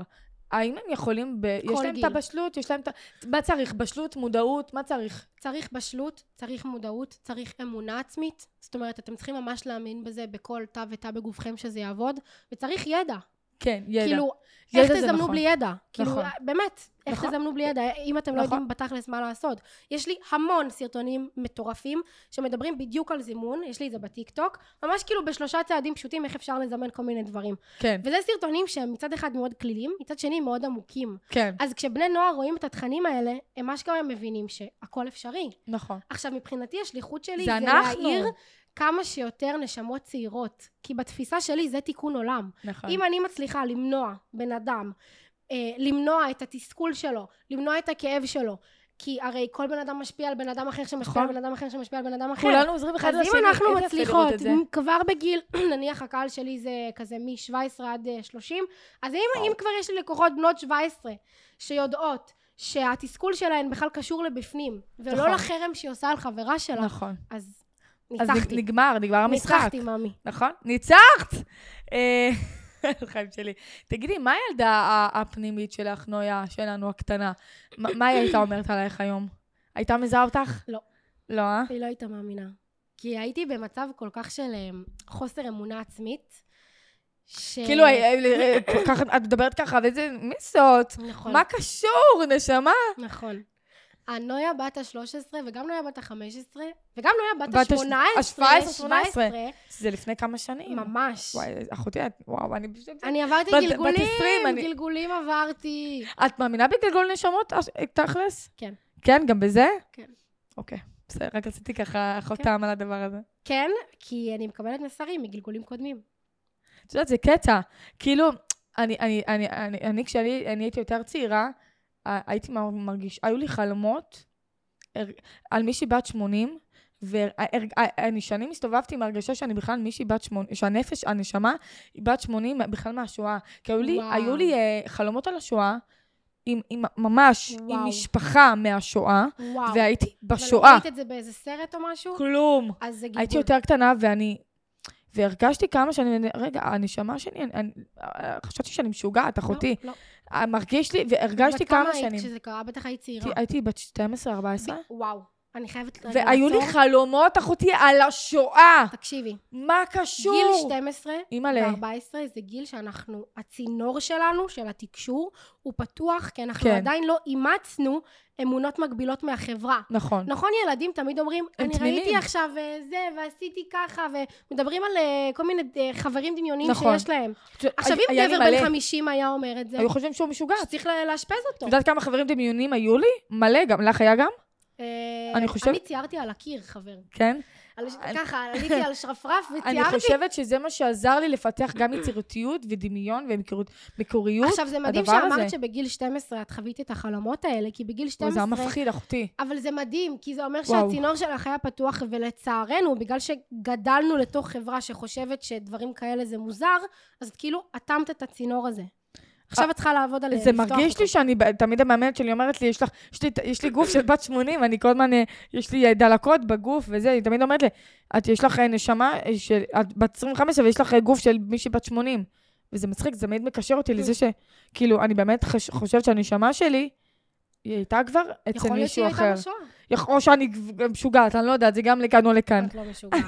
[SPEAKER 2] האם הם יכולים, ב... יש להם
[SPEAKER 3] גיל.
[SPEAKER 2] את הבשלות, יש להם את... ה- מה צריך? בשלות, מודעות, מה צריך?
[SPEAKER 3] צריך בשלות, צריך מודעות, צריך אמונה עצמית. זאת אומרת, אתם צריכים ממש להאמין בזה בכל תא ותא בגופכם שזה יעבוד, וצריך ידע.
[SPEAKER 2] כן, ידע.
[SPEAKER 3] כאילו,
[SPEAKER 2] ידע
[SPEAKER 3] איך
[SPEAKER 2] זה
[SPEAKER 3] תזמנו
[SPEAKER 2] נכון.
[SPEAKER 3] בלי ידע? כאילו,
[SPEAKER 2] נכון.
[SPEAKER 3] באמת, איך
[SPEAKER 2] נכון.
[SPEAKER 3] תזמנו בלי ידע? אם אתם לא
[SPEAKER 2] נכון.
[SPEAKER 3] יודעים בתכלס מה לעשות. יש לי המון סרטונים מטורפים שמדברים בדיוק על זימון, יש לי את זה בטיקטוק, ממש כאילו בשלושה צעדים פשוטים איך אפשר לזמן כל מיני דברים.
[SPEAKER 2] כן,
[SPEAKER 3] וזה סרטונים שהם מצד אחד מאוד כלילים, מצד שני מאוד עמוקים.
[SPEAKER 2] כן,
[SPEAKER 3] אז כשבני נוער רואים את התכנים האלה, הם אשכרה מבינים שהכל אפשרי.
[SPEAKER 2] נכון.
[SPEAKER 3] עכשיו, מבחינתי השליחות
[SPEAKER 2] זה
[SPEAKER 3] שלי זה,
[SPEAKER 2] אנחנו.
[SPEAKER 3] להעיר כמה שיותר נשמות צעירות. כי בתפיסה שלי זה תיקון עולם.
[SPEAKER 2] נכון.
[SPEAKER 3] אם אני מצליחה למנוע בן אדם, אה, למנוע את התסכול שלו, למנוע את הכאב שלו, כי הרי כל בן אדם משפיע על בן אדם אחר שמשפיע
[SPEAKER 2] נכון.
[SPEAKER 3] על בן אדם אחר שמשפיע על בן אדם אחר.
[SPEAKER 2] כולנו עוזרים אחד
[SPEAKER 3] אז
[SPEAKER 2] לשני.
[SPEAKER 3] אם אנחנו
[SPEAKER 2] איזה יפה לראות
[SPEAKER 3] מצליחות,
[SPEAKER 2] את זה.
[SPEAKER 3] מ- כבר בגיל, נניח הקהל שלי זה כזה מ-17 עד אה, 30, אז אם, אם כבר יש לי לקוחות בנות 17 שיודעות שהתסכול שלהן בכלל קשור לבפנים, ולא
[SPEAKER 2] נכון.
[SPEAKER 3] לחרם שהיא עושה על חברה שלה,
[SPEAKER 2] נכון.
[SPEAKER 3] אז
[SPEAKER 2] אז
[SPEAKER 3] ניצחתי.
[SPEAKER 2] נגמר, נגמר המשחק.
[SPEAKER 3] ניצחתי, מאמי.
[SPEAKER 2] נכון? ניצחת! אה, חיים שלי. תגידי, מה הילדה ה- הפנימית שלך, נויה, שלנו, הקטנה? מה מה היא הייתה אומרת עלייך היום? הייתה מזהה אותך?
[SPEAKER 3] לא.
[SPEAKER 2] לא, אה?
[SPEAKER 3] היא לא הייתה מאמינה. כי הייתי במצב כל כך של אה, חוסר אמונה עצמית, ש...
[SPEAKER 2] כאילו, אה, אה, אה, ככה- את מדברת ככה, וזה, מי זאת?
[SPEAKER 3] נכון,
[SPEAKER 2] מה קשור, נשמה?
[SPEAKER 3] נכון. הנויה בת ה-13, וגם נויה בת ה-15, וגם נויה בת
[SPEAKER 2] בת הש-
[SPEAKER 3] ה-18,
[SPEAKER 2] ה- 17. זה לפני כמה שנים.
[SPEAKER 3] ממש.
[SPEAKER 2] וואי, אחותי, את- וואו, אני פשוט...
[SPEAKER 3] אני עברתי
[SPEAKER 2] בת- בת
[SPEAKER 3] גלגולים,
[SPEAKER 2] 20, אני-
[SPEAKER 3] גלגולים עברתי.
[SPEAKER 2] את מאמינה בגלגול נשמות, אש- תכלס?
[SPEAKER 3] כן.
[SPEAKER 2] כן, גם בזה?
[SPEAKER 3] כן.
[SPEAKER 2] אוקיי, בסדר, רק רציתי ככה חותם על הדבר הזה.
[SPEAKER 3] כן, כי אני מקבלת מסרים מגלגולים קודמים.
[SPEAKER 2] את יודעת, זה קטע. כאילו, אני, אני, אני, אני, אני כשאני אני הייתי יותר צעירה, אה, הייתי מר- מרגיש, היו לי חלומות הר- על מישהי בת 80, ואני שנים הסתובבתי עם הרגשה שאני בכלל מישהי בת 80, שהנפש, הנשמה, היא בת 80 בכלל מהשואה. כי היו לי,
[SPEAKER 3] וואו.
[SPEAKER 2] היו לי אה, חלומות על השואה, עם, עם, ממש, עם
[SPEAKER 3] וואו.
[SPEAKER 2] משפחה מהשואה,
[SPEAKER 3] וואו.
[SPEAKER 2] והייתי
[SPEAKER 3] אבל
[SPEAKER 2] בשואה.
[SPEAKER 3] ראית את זה באיזה סרט או משהו?
[SPEAKER 2] כלום.
[SPEAKER 3] אז זה גלגול.
[SPEAKER 2] הייתי יותר קטנה, ואני... והרגשתי כמה שאני... רגע, הנשמה שלי, אני, אני, חשבתי שאני משוגעת,
[SPEAKER 3] לא,
[SPEAKER 2] אחותי. אה,
[SPEAKER 3] לא.
[SPEAKER 2] מרגיש לי, והרגשתי
[SPEAKER 3] בת כמה
[SPEAKER 2] כמה
[SPEAKER 3] היית
[SPEAKER 2] שנים.
[SPEAKER 3] כשזה קרה? בטח היית צעירה.
[SPEAKER 2] הייתי- הייתי בת 12-14,
[SPEAKER 3] וואו. אני חייבת... רגע
[SPEAKER 2] והיו לי
[SPEAKER 3] לעצור.
[SPEAKER 2] חלומות, אחותי, על השואה.
[SPEAKER 3] תקשיבי.
[SPEAKER 2] מה
[SPEAKER 3] גיל
[SPEAKER 2] קשור?
[SPEAKER 3] 12
[SPEAKER 2] אימא'לה.
[SPEAKER 3] ו-14 זה גיל שאנחנו, הצינור שלנו, של התקשור, הוא פתוח, כי אנחנו
[SPEAKER 2] כן.
[SPEAKER 3] עדיין לא אימצנו אמונות מקבילות מהחברה.
[SPEAKER 2] נכון.
[SPEAKER 3] נכון, ילדים תמיד אומרים,
[SPEAKER 2] הם
[SPEAKER 3] אני
[SPEAKER 2] תמימים."
[SPEAKER 3] ראיתי עכשיו אה, זה, ועשיתי ככה, ומדברים על אה, כל מיני אה, חברים דמיוניים
[SPEAKER 2] נכון.
[SPEAKER 3] שיש להם.
[SPEAKER 2] היה-
[SPEAKER 3] עכשיו, אם
[SPEAKER 2] היה לי
[SPEAKER 3] גבר
[SPEAKER 2] מלא.
[SPEAKER 3] בן 50 היה אומר את זה,
[SPEAKER 2] היו חושבים שהוא משוגע. את
[SPEAKER 3] שצריך לה- לאשפז אותו.
[SPEAKER 2] יודעת כמה חברים דמיונים היו לי? מלא גם. לך היה גם?
[SPEAKER 3] אה,
[SPEAKER 2] אני חושבת-
[SPEAKER 3] אני ציירתי על הקיר, חבר.
[SPEAKER 2] כן.
[SPEAKER 3] על הש-
[SPEAKER 2] אני-
[SPEAKER 3] ככה, עליתי על שרפרף
[SPEAKER 2] אני
[SPEAKER 3] וציירתי.
[SPEAKER 2] חושבת שזה מה שעזר לי לפתח גם יצירתיות ודמיון ומקוריות.
[SPEAKER 3] עכשיו, זה מדהים
[SPEAKER 2] הדבר
[SPEAKER 3] שאמרת
[SPEAKER 2] הזה.
[SPEAKER 3] שבגיל 12 את חווית את החלומות האלה, כי בגיל
[SPEAKER 2] זה היה
[SPEAKER 3] 12...
[SPEAKER 2] מפחיד, אחותי.
[SPEAKER 3] אבל זה מדהים, כי זה אומר
[SPEAKER 2] וואו.
[SPEAKER 3] שהצינור שלך היה פתוח, ולצערנו, בגלל שגדלנו לתוך חברה שחושבת שדברים כאלה זה מוזר, אז את כאילו אטמת את הצינור הזה. עכשיו את צריכה לעבוד על
[SPEAKER 2] זה
[SPEAKER 3] אה, לפתוח
[SPEAKER 2] מרגיש לי
[SPEAKER 3] אותו.
[SPEAKER 2] שאני, ב- תמיד המאמנת שלי אומרת לי, יש לך, יש לי, יש לי גוף של בת 80, אני כל הזמן, אה, יש לי אה, דלקות בגוף וזה, היא תמיד אומרת לי, את, יש לך אה, נשמה, אה, של, את בת 25, אבל יש לך אה, גוף של מישהי בת 80. וזה מצחיק, זה תמיד מקשר אותי לזה
[SPEAKER 3] כן.
[SPEAKER 2] שכאילו, אני באמת חש, חושבת שהנשמה שלי, היא הייתה כבר אצל
[SPEAKER 3] יכול להיות שהיא
[SPEAKER 2] מישהו
[SPEAKER 3] הייתה
[SPEAKER 2] אחר.
[SPEAKER 3] בשואה.
[SPEAKER 2] יכול- או שאני גב- משוגעת, אני לא יודעת, זה גם לכאן או לכאן.
[SPEAKER 3] את לא משוגעת.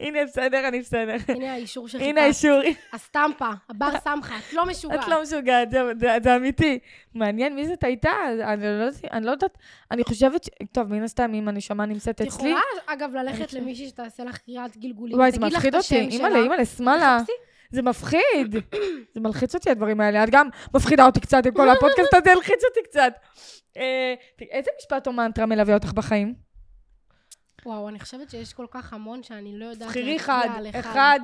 [SPEAKER 2] הנה, בסדר, אני בסדר.
[SPEAKER 3] הנה האישור
[SPEAKER 2] הנה
[SPEAKER 3] שחיפשת.
[SPEAKER 2] האישור,
[SPEAKER 3] הסטמפה, הבר סמכה, את לא משוגעת.
[SPEAKER 2] את לא משוגעת, זה, זה, זה אמיתי. מעניין מי זאת הייתה, אני לא, יודעת- אני לא יודעת, אני חושבת, ש... טוב, מן הסתם, אם הנשמה נמצאת
[SPEAKER 3] את
[SPEAKER 2] אצלי,
[SPEAKER 3] יכולה, אגב,
[SPEAKER 2] אני
[SPEAKER 3] ללכת
[SPEAKER 2] חושבת.
[SPEAKER 3] למישהי שתעשה לך קריאת גלגולים,
[SPEAKER 2] וואי, זה
[SPEAKER 3] תגיד לך
[SPEAKER 2] מפחיד
[SPEAKER 3] את השם
[SPEAKER 2] אותי, אימא'לה,
[SPEAKER 3] שלה.
[SPEAKER 2] אימא'לה, שמאלה.
[SPEAKER 3] תחפשי.
[SPEAKER 2] זה מפחיד, זה מלחיץ אותי הדברים האלה. את גם מפחידה אותי קצת עם כל הפודקאסט הזה, הלחיץ אותי קצת. אה, ת- איזה משפט או מנטרה מלווה אותך בחיים?
[SPEAKER 3] וואו, אני חושבת שיש כל כך המון שאני לא יודעת
[SPEAKER 2] תבחרי
[SPEAKER 3] להצביע
[SPEAKER 2] אחד,
[SPEAKER 3] על
[SPEAKER 2] אחד,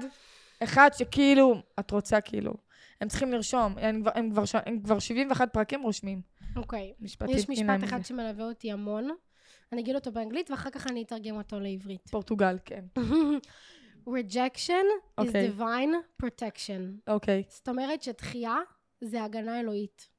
[SPEAKER 2] אחד שכאילו, את רוצה כאילו. הם צריכים לרשום, הם כבר- הם כבר ש- הם כבר 71 פרקים רושמים.
[SPEAKER 3] אוקיי.
[SPEAKER 2] משפטים.
[SPEAKER 3] יש
[SPEAKER 2] הנה, הם-
[SPEAKER 3] משפט אחד שמלווה אותי המון. אני אגיד אותו באנגלית, ואחר כך אני אתרגם אותו לעברית.
[SPEAKER 2] פורטוגל, כן.
[SPEAKER 3] Rejection is
[SPEAKER 2] אוקיי.
[SPEAKER 3] divine protection.
[SPEAKER 2] אוקיי,
[SPEAKER 3] זאת אומרת שדחייה זה הגנה אלוהית.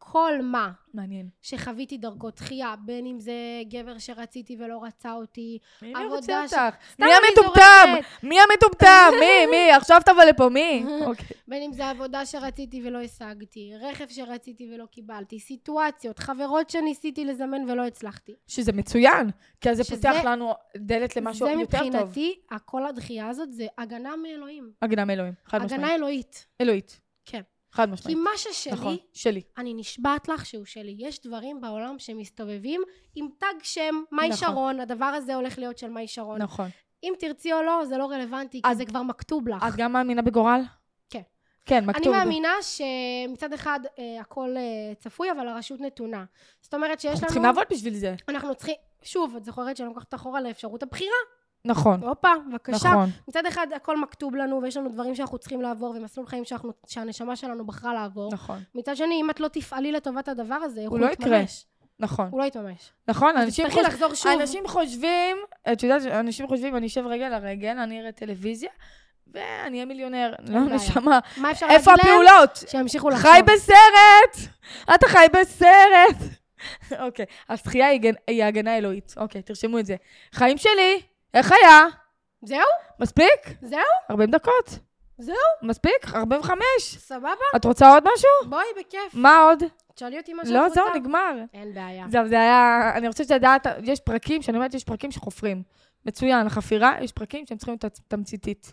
[SPEAKER 3] כל מה
[SPEAKER 2] מעניין.
[SPEAKER 3] שחוויתי דרכו דחייה, בין אם זה גבר שרציתי ולא רצה אותי,
[SPEAKER 2] מי
[SPEAKER 3] עבודה
[SPEAKER 2] רוצה
[SPEAKER 3] ש-
[SPEAKER 2] אותך?
[SPEAKER 3] סתם
[SPEAKER 2] מי
[SPEAKER 3] אני
[SPEAKER 2] המטומטם?
[SPEAKER 3] זורקת.
[SPEAKER 2] מי המטומטם? מי? מי? עכשיו תבוא לפה, מי? אוקיי.
[SPEAKER 3] בין אם זה עבודה שרציתי ולא השגתי, רכב שרציתי ולא קיבלתי, סיטואציות, חברות שניסיתי לזמן ולא הצלחתי.
[SPEAKER 2] שזה מצוין, כי אז זה
[SPEAKER 3] שזה-
[SPEAKER 2] פותח לנו דלת למשהו יותר
[SPEAKER 3] זה
[SPEAKER 2] טוב.
[SPEAKER 3] מבחינתי, כל הדחייה הזאת זה הגנה מאלוהים.
[SPEAKER 2] הגנה מאלוהים, חד משמעית.
[SPEAKER 3] הגנה אלוהית.
[SPEAKER 2] אלוהית,
[SPEAKER 3] כן.
[SPEAKER 2] חד
[SPEAKER 3] כי
[SPEAKER 2] משמעית.
[SPEAKER 3] מה ששלי,
[SPEAKER 2] נכון, שלי.
[SPEAKER 3] אני נשבעת לך שהוא שלי. יש דברים בעולם שמסתובבים עם תג שם, מאי
[SPEAKER 2] נכון.
[SPEAKER 3] שרון, הדבר הזה הולך להיות של מאי שרון.
[SPEAKER 2] נכון.
[SPEAKER 3] אם תרצי או לא, זה לא רלוונטי, כי
[SPEAKER 2] את-
[SPEAKER 3] זה כבר מכתוב לך.
[SPEAKER 2] את גם מאמינה בגורל?
[SPEAKER 3] כן.
[SPEAKER 2] כן, מכתוב.
[SPEAKER 3] אני מאמינה שמצד אחד אה, הכל אה, צפוי, אבל הרשות נתונה. זאת אומרת שיש
[SPEAKER 2] אנחנו
[SPEAKER 3] לנו...
[SPEAKER 2] צריכים לעבוד בשביל זה.
[SPEAKER 3] אנחנו צריכים... שוב, את זוכרת שאני לוקחת אחורה לאפשרות הבחירה.
[SPEAKER 2] נכון,
[SPEAKER 3] הופה, בבקשה.
[SPEAKER 2] נכון.
[SPEAKER 3] מצד אחד הכל מכתוב לנו, ויש לנו דברים שאנחנו צריכים לעבור, ומסלול חיים שאנחנו, שהנשמה שלנו בחרה לעבור.
[SPEAKER 2] נכון,
[SPEAKER 3] מצד שני, אם את לא תפעלי לטובת הדבר הזה,
[SPEAKER 2] הוא
[SPEAKER 3] הוא
[SPEAKER 2] לא
[SPEAKER 3] לא
[SPEAKER 2] יקרה.
[SPEAKER 3] יתממש.
[SPEAKER 2] נכון,
[SPEAKER 3] הוא לא יתממש.
[SPEAKER 2] נכון, אנשים
[SPEAKER 3] תצטרכי
[SPEAKER 2] חוש-
[SPEAKER 3] לחזור שוב.
[SPEAKER 2] אנשים חושבים, את יודעת, אנשים חושבים, אני אשב רגל על רגל, אני אראה טלוויזיה, ואני אהיה מיליונר. לא,
[SPEAKER 3] בעיה.
[SPEAKER 2] נשמה.
[SPEAKER 3] מה אפשר להגיד
[SPEAKER 2] איפה
[SPEAKER 3] להם?
[SPEAKER 2] הפעולות?
[SPEAKER 3] שימשיכו לחשוב.
[SPEAKER 2] חי בסרט! אתה חי בסרט! אוקיי, אז תחייה היא הגנ- היא הגנה אלוהית. אוקיי, תרשמו את זה. חיים שלי, איך היה?
[SPEAKER 3] זהו?
[SPEAKER 2] מספיק?
[SPEAKER 3] זהו?
[SPEAKER 2] 40 דקות.
[SPEAKER 3] זהו.
[SPEAKER 2] מספיק? 45.
[SPEAKER 3] סבבה?
[SPEAKER 2] את רוצה עוד משהו?
[SPEAKER 3] בואי, בכיף.
[SPEAKER 2] מה עוד?
[SPEAKER 3] תשאלי אותי מה שאת
[SPEAKER 2] לא,
[SPEAKER 3] רוצה.
[SPEAKER 2] זהו, נגמר.
[SPEAKER 3] אין בעיה.
[SPEAKER 2] זהו, זה היה... אני רוצה שתדעת, יש פרקים, שאני אומרת, יש פרקים שחופרים. מצוין, חפירה, יש פרקים שהם צריכים להיות תמציתית.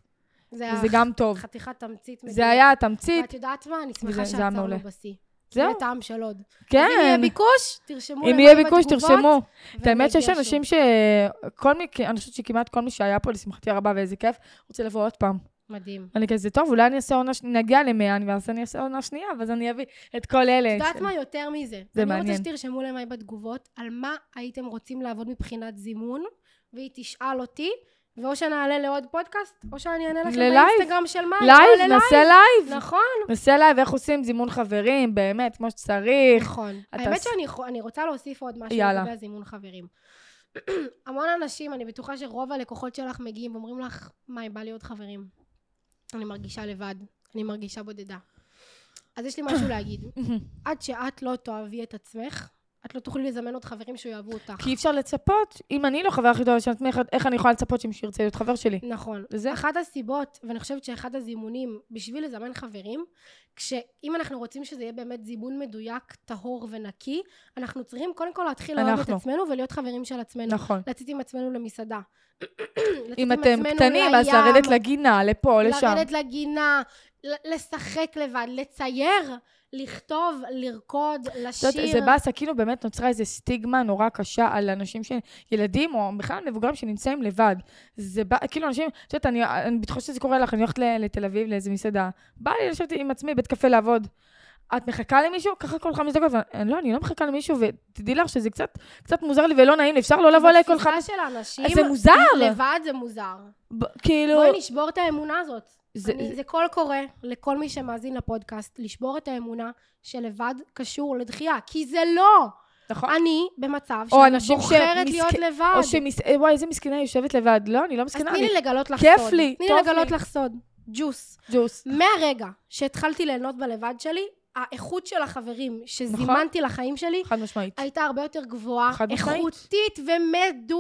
[SPEAKER 3] זה
[SPEAKER 2] וזה גם טוב.
[SPEAKER 3] חתיכת תמצית.
[SPEAKER 2] זה
[SPEAKER 3] מדהימה.
[SPEAKER 2] היה התמצית,
[SPEAKER 3] ואת יודעת מה? אני
[SPEAKER 2] וזה-
[SPEAKER 3] שמחה
[SPEAKER 2] זה היה מעולה.
[SPEAKER 3] שעצרנו בשיא.
[SPEAKER 2] זהו.
[SPEAKER 3] זהו. זה טעם של עוד. אז אם יהיה
[SPEAKER 2] כן.
[SPEAKER 3] ביקוש, תרשמו
[SPEAKER 2] אם
[SPEAKER 3] למעלה
[SPEAKER 2] יהיה ביקוש,
[SPEAKER 3] בתגובות,
[SPEAKER 2] תרשמו. את האמת
[SPEAKER 3] ונגיע
[SPEAKER 2] שיש
[SPEAKER 3] שוב.
[SPEAKER 2] אנשים ש... כל מי, אני חושבת שכמעט כל מי שהיה פה, לשמחתי הרבה, ואיזה כיף, רוצה לבוא עוד פעם.
[SPEAKER 3] מדהים.
[SPEAKER 2] אני כזה, טוב, אולי אני אעשה עונה, ש- נגיע למאה, אני- ואז אני אעשה עונה שנייה, ואז אני אביא את כל אלה.
[SPEAKER 3] את יודעת מה יותר מזה?
[SPEAKER 2] כן, זה
[SPEAKER 3] אני
[SPEAKER 2] מעניין.
[SPEAKER 3] רוצה שתרשמו למאי בתגובות על מה הייתם רוצים לעבוד מבחינת זימון, והיא תשאל אותי, ואו שנעלה לעוד פודקאסט, או שאני אענה לכם
[SPEAKER 2] ללייב.
[SPEAKER 3] באינסטגרם של מאי.
[SPEAKER 2] לייב,
[SPEAKER 3] נעלה
[SPEAKER 2] נעשה לייב.
[SPEAKER 3] נכון.
[SPEAKER 2] נעשה לייב, איך עושים זימון חברים, באמת, כמו שצריך.
[SPEAKER 3] נכון.
[SPEAKER 2] אתה
[SPEAKER 3] האמת
[SPEAKER 2] ס-
[SPEAKER 3] שאני חו- אני רוצה להוסיף עוד משהו
[SPEAKER 2] יאללה.
[SPEAKER 3] לגבי הזימון חברים. המון אנשים, אני בטוחה שרוב הלקוחות שלך מגיעים ואומרים לך, מאי, בא לי עוד חברים. אני מרגישה לבד, אני מרגישה בודדה. אז יש לי משהו להגיד. עד שאת לא תאהבי את עצמך, את לא תוכלי לזמן עוד חברים שיאהבו אותך.
[SPEAKER 2] כי אי אפשר לצפות, אם אני לא חברה הכי טובה של עצמי, איך- איך אני יכולה לצפות שמישהו ירצה להיות חבר שלי?
[SPEAKER 3] נכון.
[SPEAKER 2] וזה-
[SPEAKER 3] אחת הסיבות, ואני חושבת שאחד הזימונים בשביל לזמן חברים, כשאם אנחנו רוצים שזה יהיה באמת זימון מדויק, טהור ונקי, אנחנו צריכים קודם כל להתחיל לאהוב את
[SPEAKER 2] אנחנו.
[SPEAKER 3] עצמנו ולהיות חברים של עצמנו.
[SPEAKER 2] נכון.
[SPEAKER 3] לצאת עם עצמנו למסעדה. לצאת
[SPEAKER 2] אם
[SPEAKER 3] עם
[SPEAKER 2] אתם
[SPEAKER 3] עצמנו
[SPEAKER 2] קטנים, אז
[SPEAKER 3] לים,
[SPEAKER 2] לרדת לגינה, לפה, לשם.
[SPEAKER 3] לרדת לגינה, ל- לשחק לבד, לצייר, לכתוב, לרקוד,
[SPEAKER 2] את יודעת,
[SPEAKER 3] לשיר.
[SPEAKER 2] זה באסה, כאילו באמת נוצרה איזו סטיגמה נורא קשה על אנשים, ש... ילדים או בכלל מבוגרים שנמצאים לבד. זה בא, כאילו אנשים, את יודעת, אני, אני בטוחה שזה קורה לך, אני הולכת ל- לתל אביב לאיזה מסעדה, בא לי לשבת עם עצמי בית קפה לעבוד. את מחכה למישהו? ככה כל חמש דקות. ואני- לא, אני לא מחכה למישהו, ותדעי לך שזה קצת, קצת מוזר לי ולא נעים לי, אפשר לא לבוא אליי כל חמש...
[SPEAKER 3] התפיסה של האנשים,
[SPEAKER 2] אז זה מוזר!
[SPEAKER 3] לבד זה מוזר.
[SPEAKER 2] ב- כאילו...
[SPEAKER 3] בואי נשבור את האמונה הזאת.
[SPEAKER 2] זה-
[SPEAKER 3] זה, אני, זה... זה קול קורא לכל מי שמאזין לפודקאסט, לשבור את האמונה שלבד קשור לדחייה, כי זה לא.
[SPEAKER 2] נכון.
[SPEAKER 3] אני במצב
[SPEAKER 2] או
[SPEAKER 3] שאני
[SPEAKER 2] אנשים
[SPEAKER 3] בוחרת
[SPEAKER 2] שמסכ-
[SPEAKER 3] להיות לבד.
[SPEAKER 2] או שמס... אה, וואי, איזה מסכנה, היא יושבת לבד. לא, אני לא
[SPEAKER 3] אז
[SPEAKER 2] מסכנה,
[SPEAKER 3] תני
[SPEAKER 2] אני
[SPEAKER 3] לי לגלות לך
[SPEAKER 2] כיף
[SPEAKER 3] סוד.
[SPEAKER 2] לי,
[SPEAKER 3] תני
[SPEAKER 2] טוב
[SPEAKER 3] לי לגלות
[SPEAKER 2] לי.
[SPEAKER 3] לך סוד. ג'וס.
[SPEAKER 2] ג'וס.
[SPEAKER 3] מהרגע שהתחלתי ליהנות בלבד שלי, האיכות של החברים שזימנתי לחיים שלי
[SPEAKER 2] נכון. חד משמעית. לא,
[SPEAKER 3] הייתה הרבה יותר גבוהה,
[SPEAKER 2] חד משמעית.
[SPEAKER 3] איכותית
[SPEAKER 2] נכון,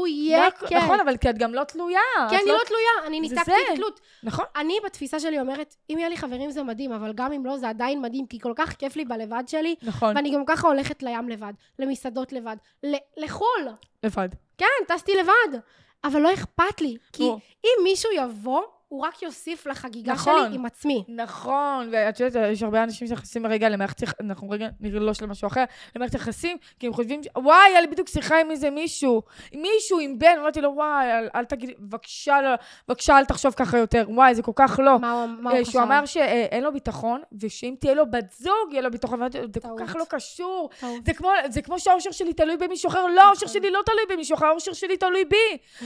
[SPEAKER 3] ומדויקת.
[SPEAKER 2] נכון, אבל כי את גם לא תלויה.
[SPEAKER 3] כן,
[SPEAKER 2] את
[SPEAKER 3] אני לא תלויה, אני
[SPEAKER 2] זה
[SPEAKER 3] ניתקתי
[SPEAKER 2] זה.
[SPEAKER 3] תלות.
[SPEAKER 2] נכון.
[SPEAKER 3] אני בתפיסה שלי אומרת, אם יהיה לי חברים זה מדהים, אבל גם אם לא זה עדיין מדהים, כי כל כך כיף לי בלבד שלי,
[SPEAKER 2] נכון,
[SPEAKER 3] ואני גם ככה הולכת לים לבד, למסעדות לבד, ל- לחו"ל.
[SPEAKER 2] לבד.
[SPEAKER 3] כן, טסתי לבד. אבל לא אכפת לי, כי
[SPEAKER 2] או.
[SPEAKER 3] אם מישהו יבוא, הוא רק יוסיף לחגיגה
[SPEAKER 2] נכון.
[SPEAKER 3] שלי עם עצמי.
[SPEAKER 2] נכון, ואת יודעת, יש הרבה אנשים שנכנסים רגע למערכת יחסים, אנחנו רגע נגלוש למשהו אחר, למערכת יחסים, כי הם חושבים, ש- וואי, היה לי בדיוק שיחה עם איזה מישהו, עם מישהו, עם בן, אמרתי לו, וואי, אל, אל תגיד, בבקשה, לא, בבקשה, אל תחשוב ככה יותר, וואי, זה כל כך לא.
[SPEAKER 3] מה הוא, מה
[SPEAKER 2] אה,
[SPEAKER 3] הוא חשב?
[SPEAKER 2] שהוא אמר שאין לו ביטחון, ושאם תהיה לו בת זוג, יהיה לו ביטחון, ואמרתי לו, זה כל
[SPEAKER 3] טעות.
[SPEAKER 2] כך לא קשור.
[SPEAKER 3] טוב,
[SPEAKER 2] זה כמו, זה כמו שהאושר שלי תלוי במישהו אחר, לא, האושר
[SPEAKER 3] נכון.
[SPEAKER 2] שלי לא תלוי במישהו אחר, האושר שלי תלוי בי.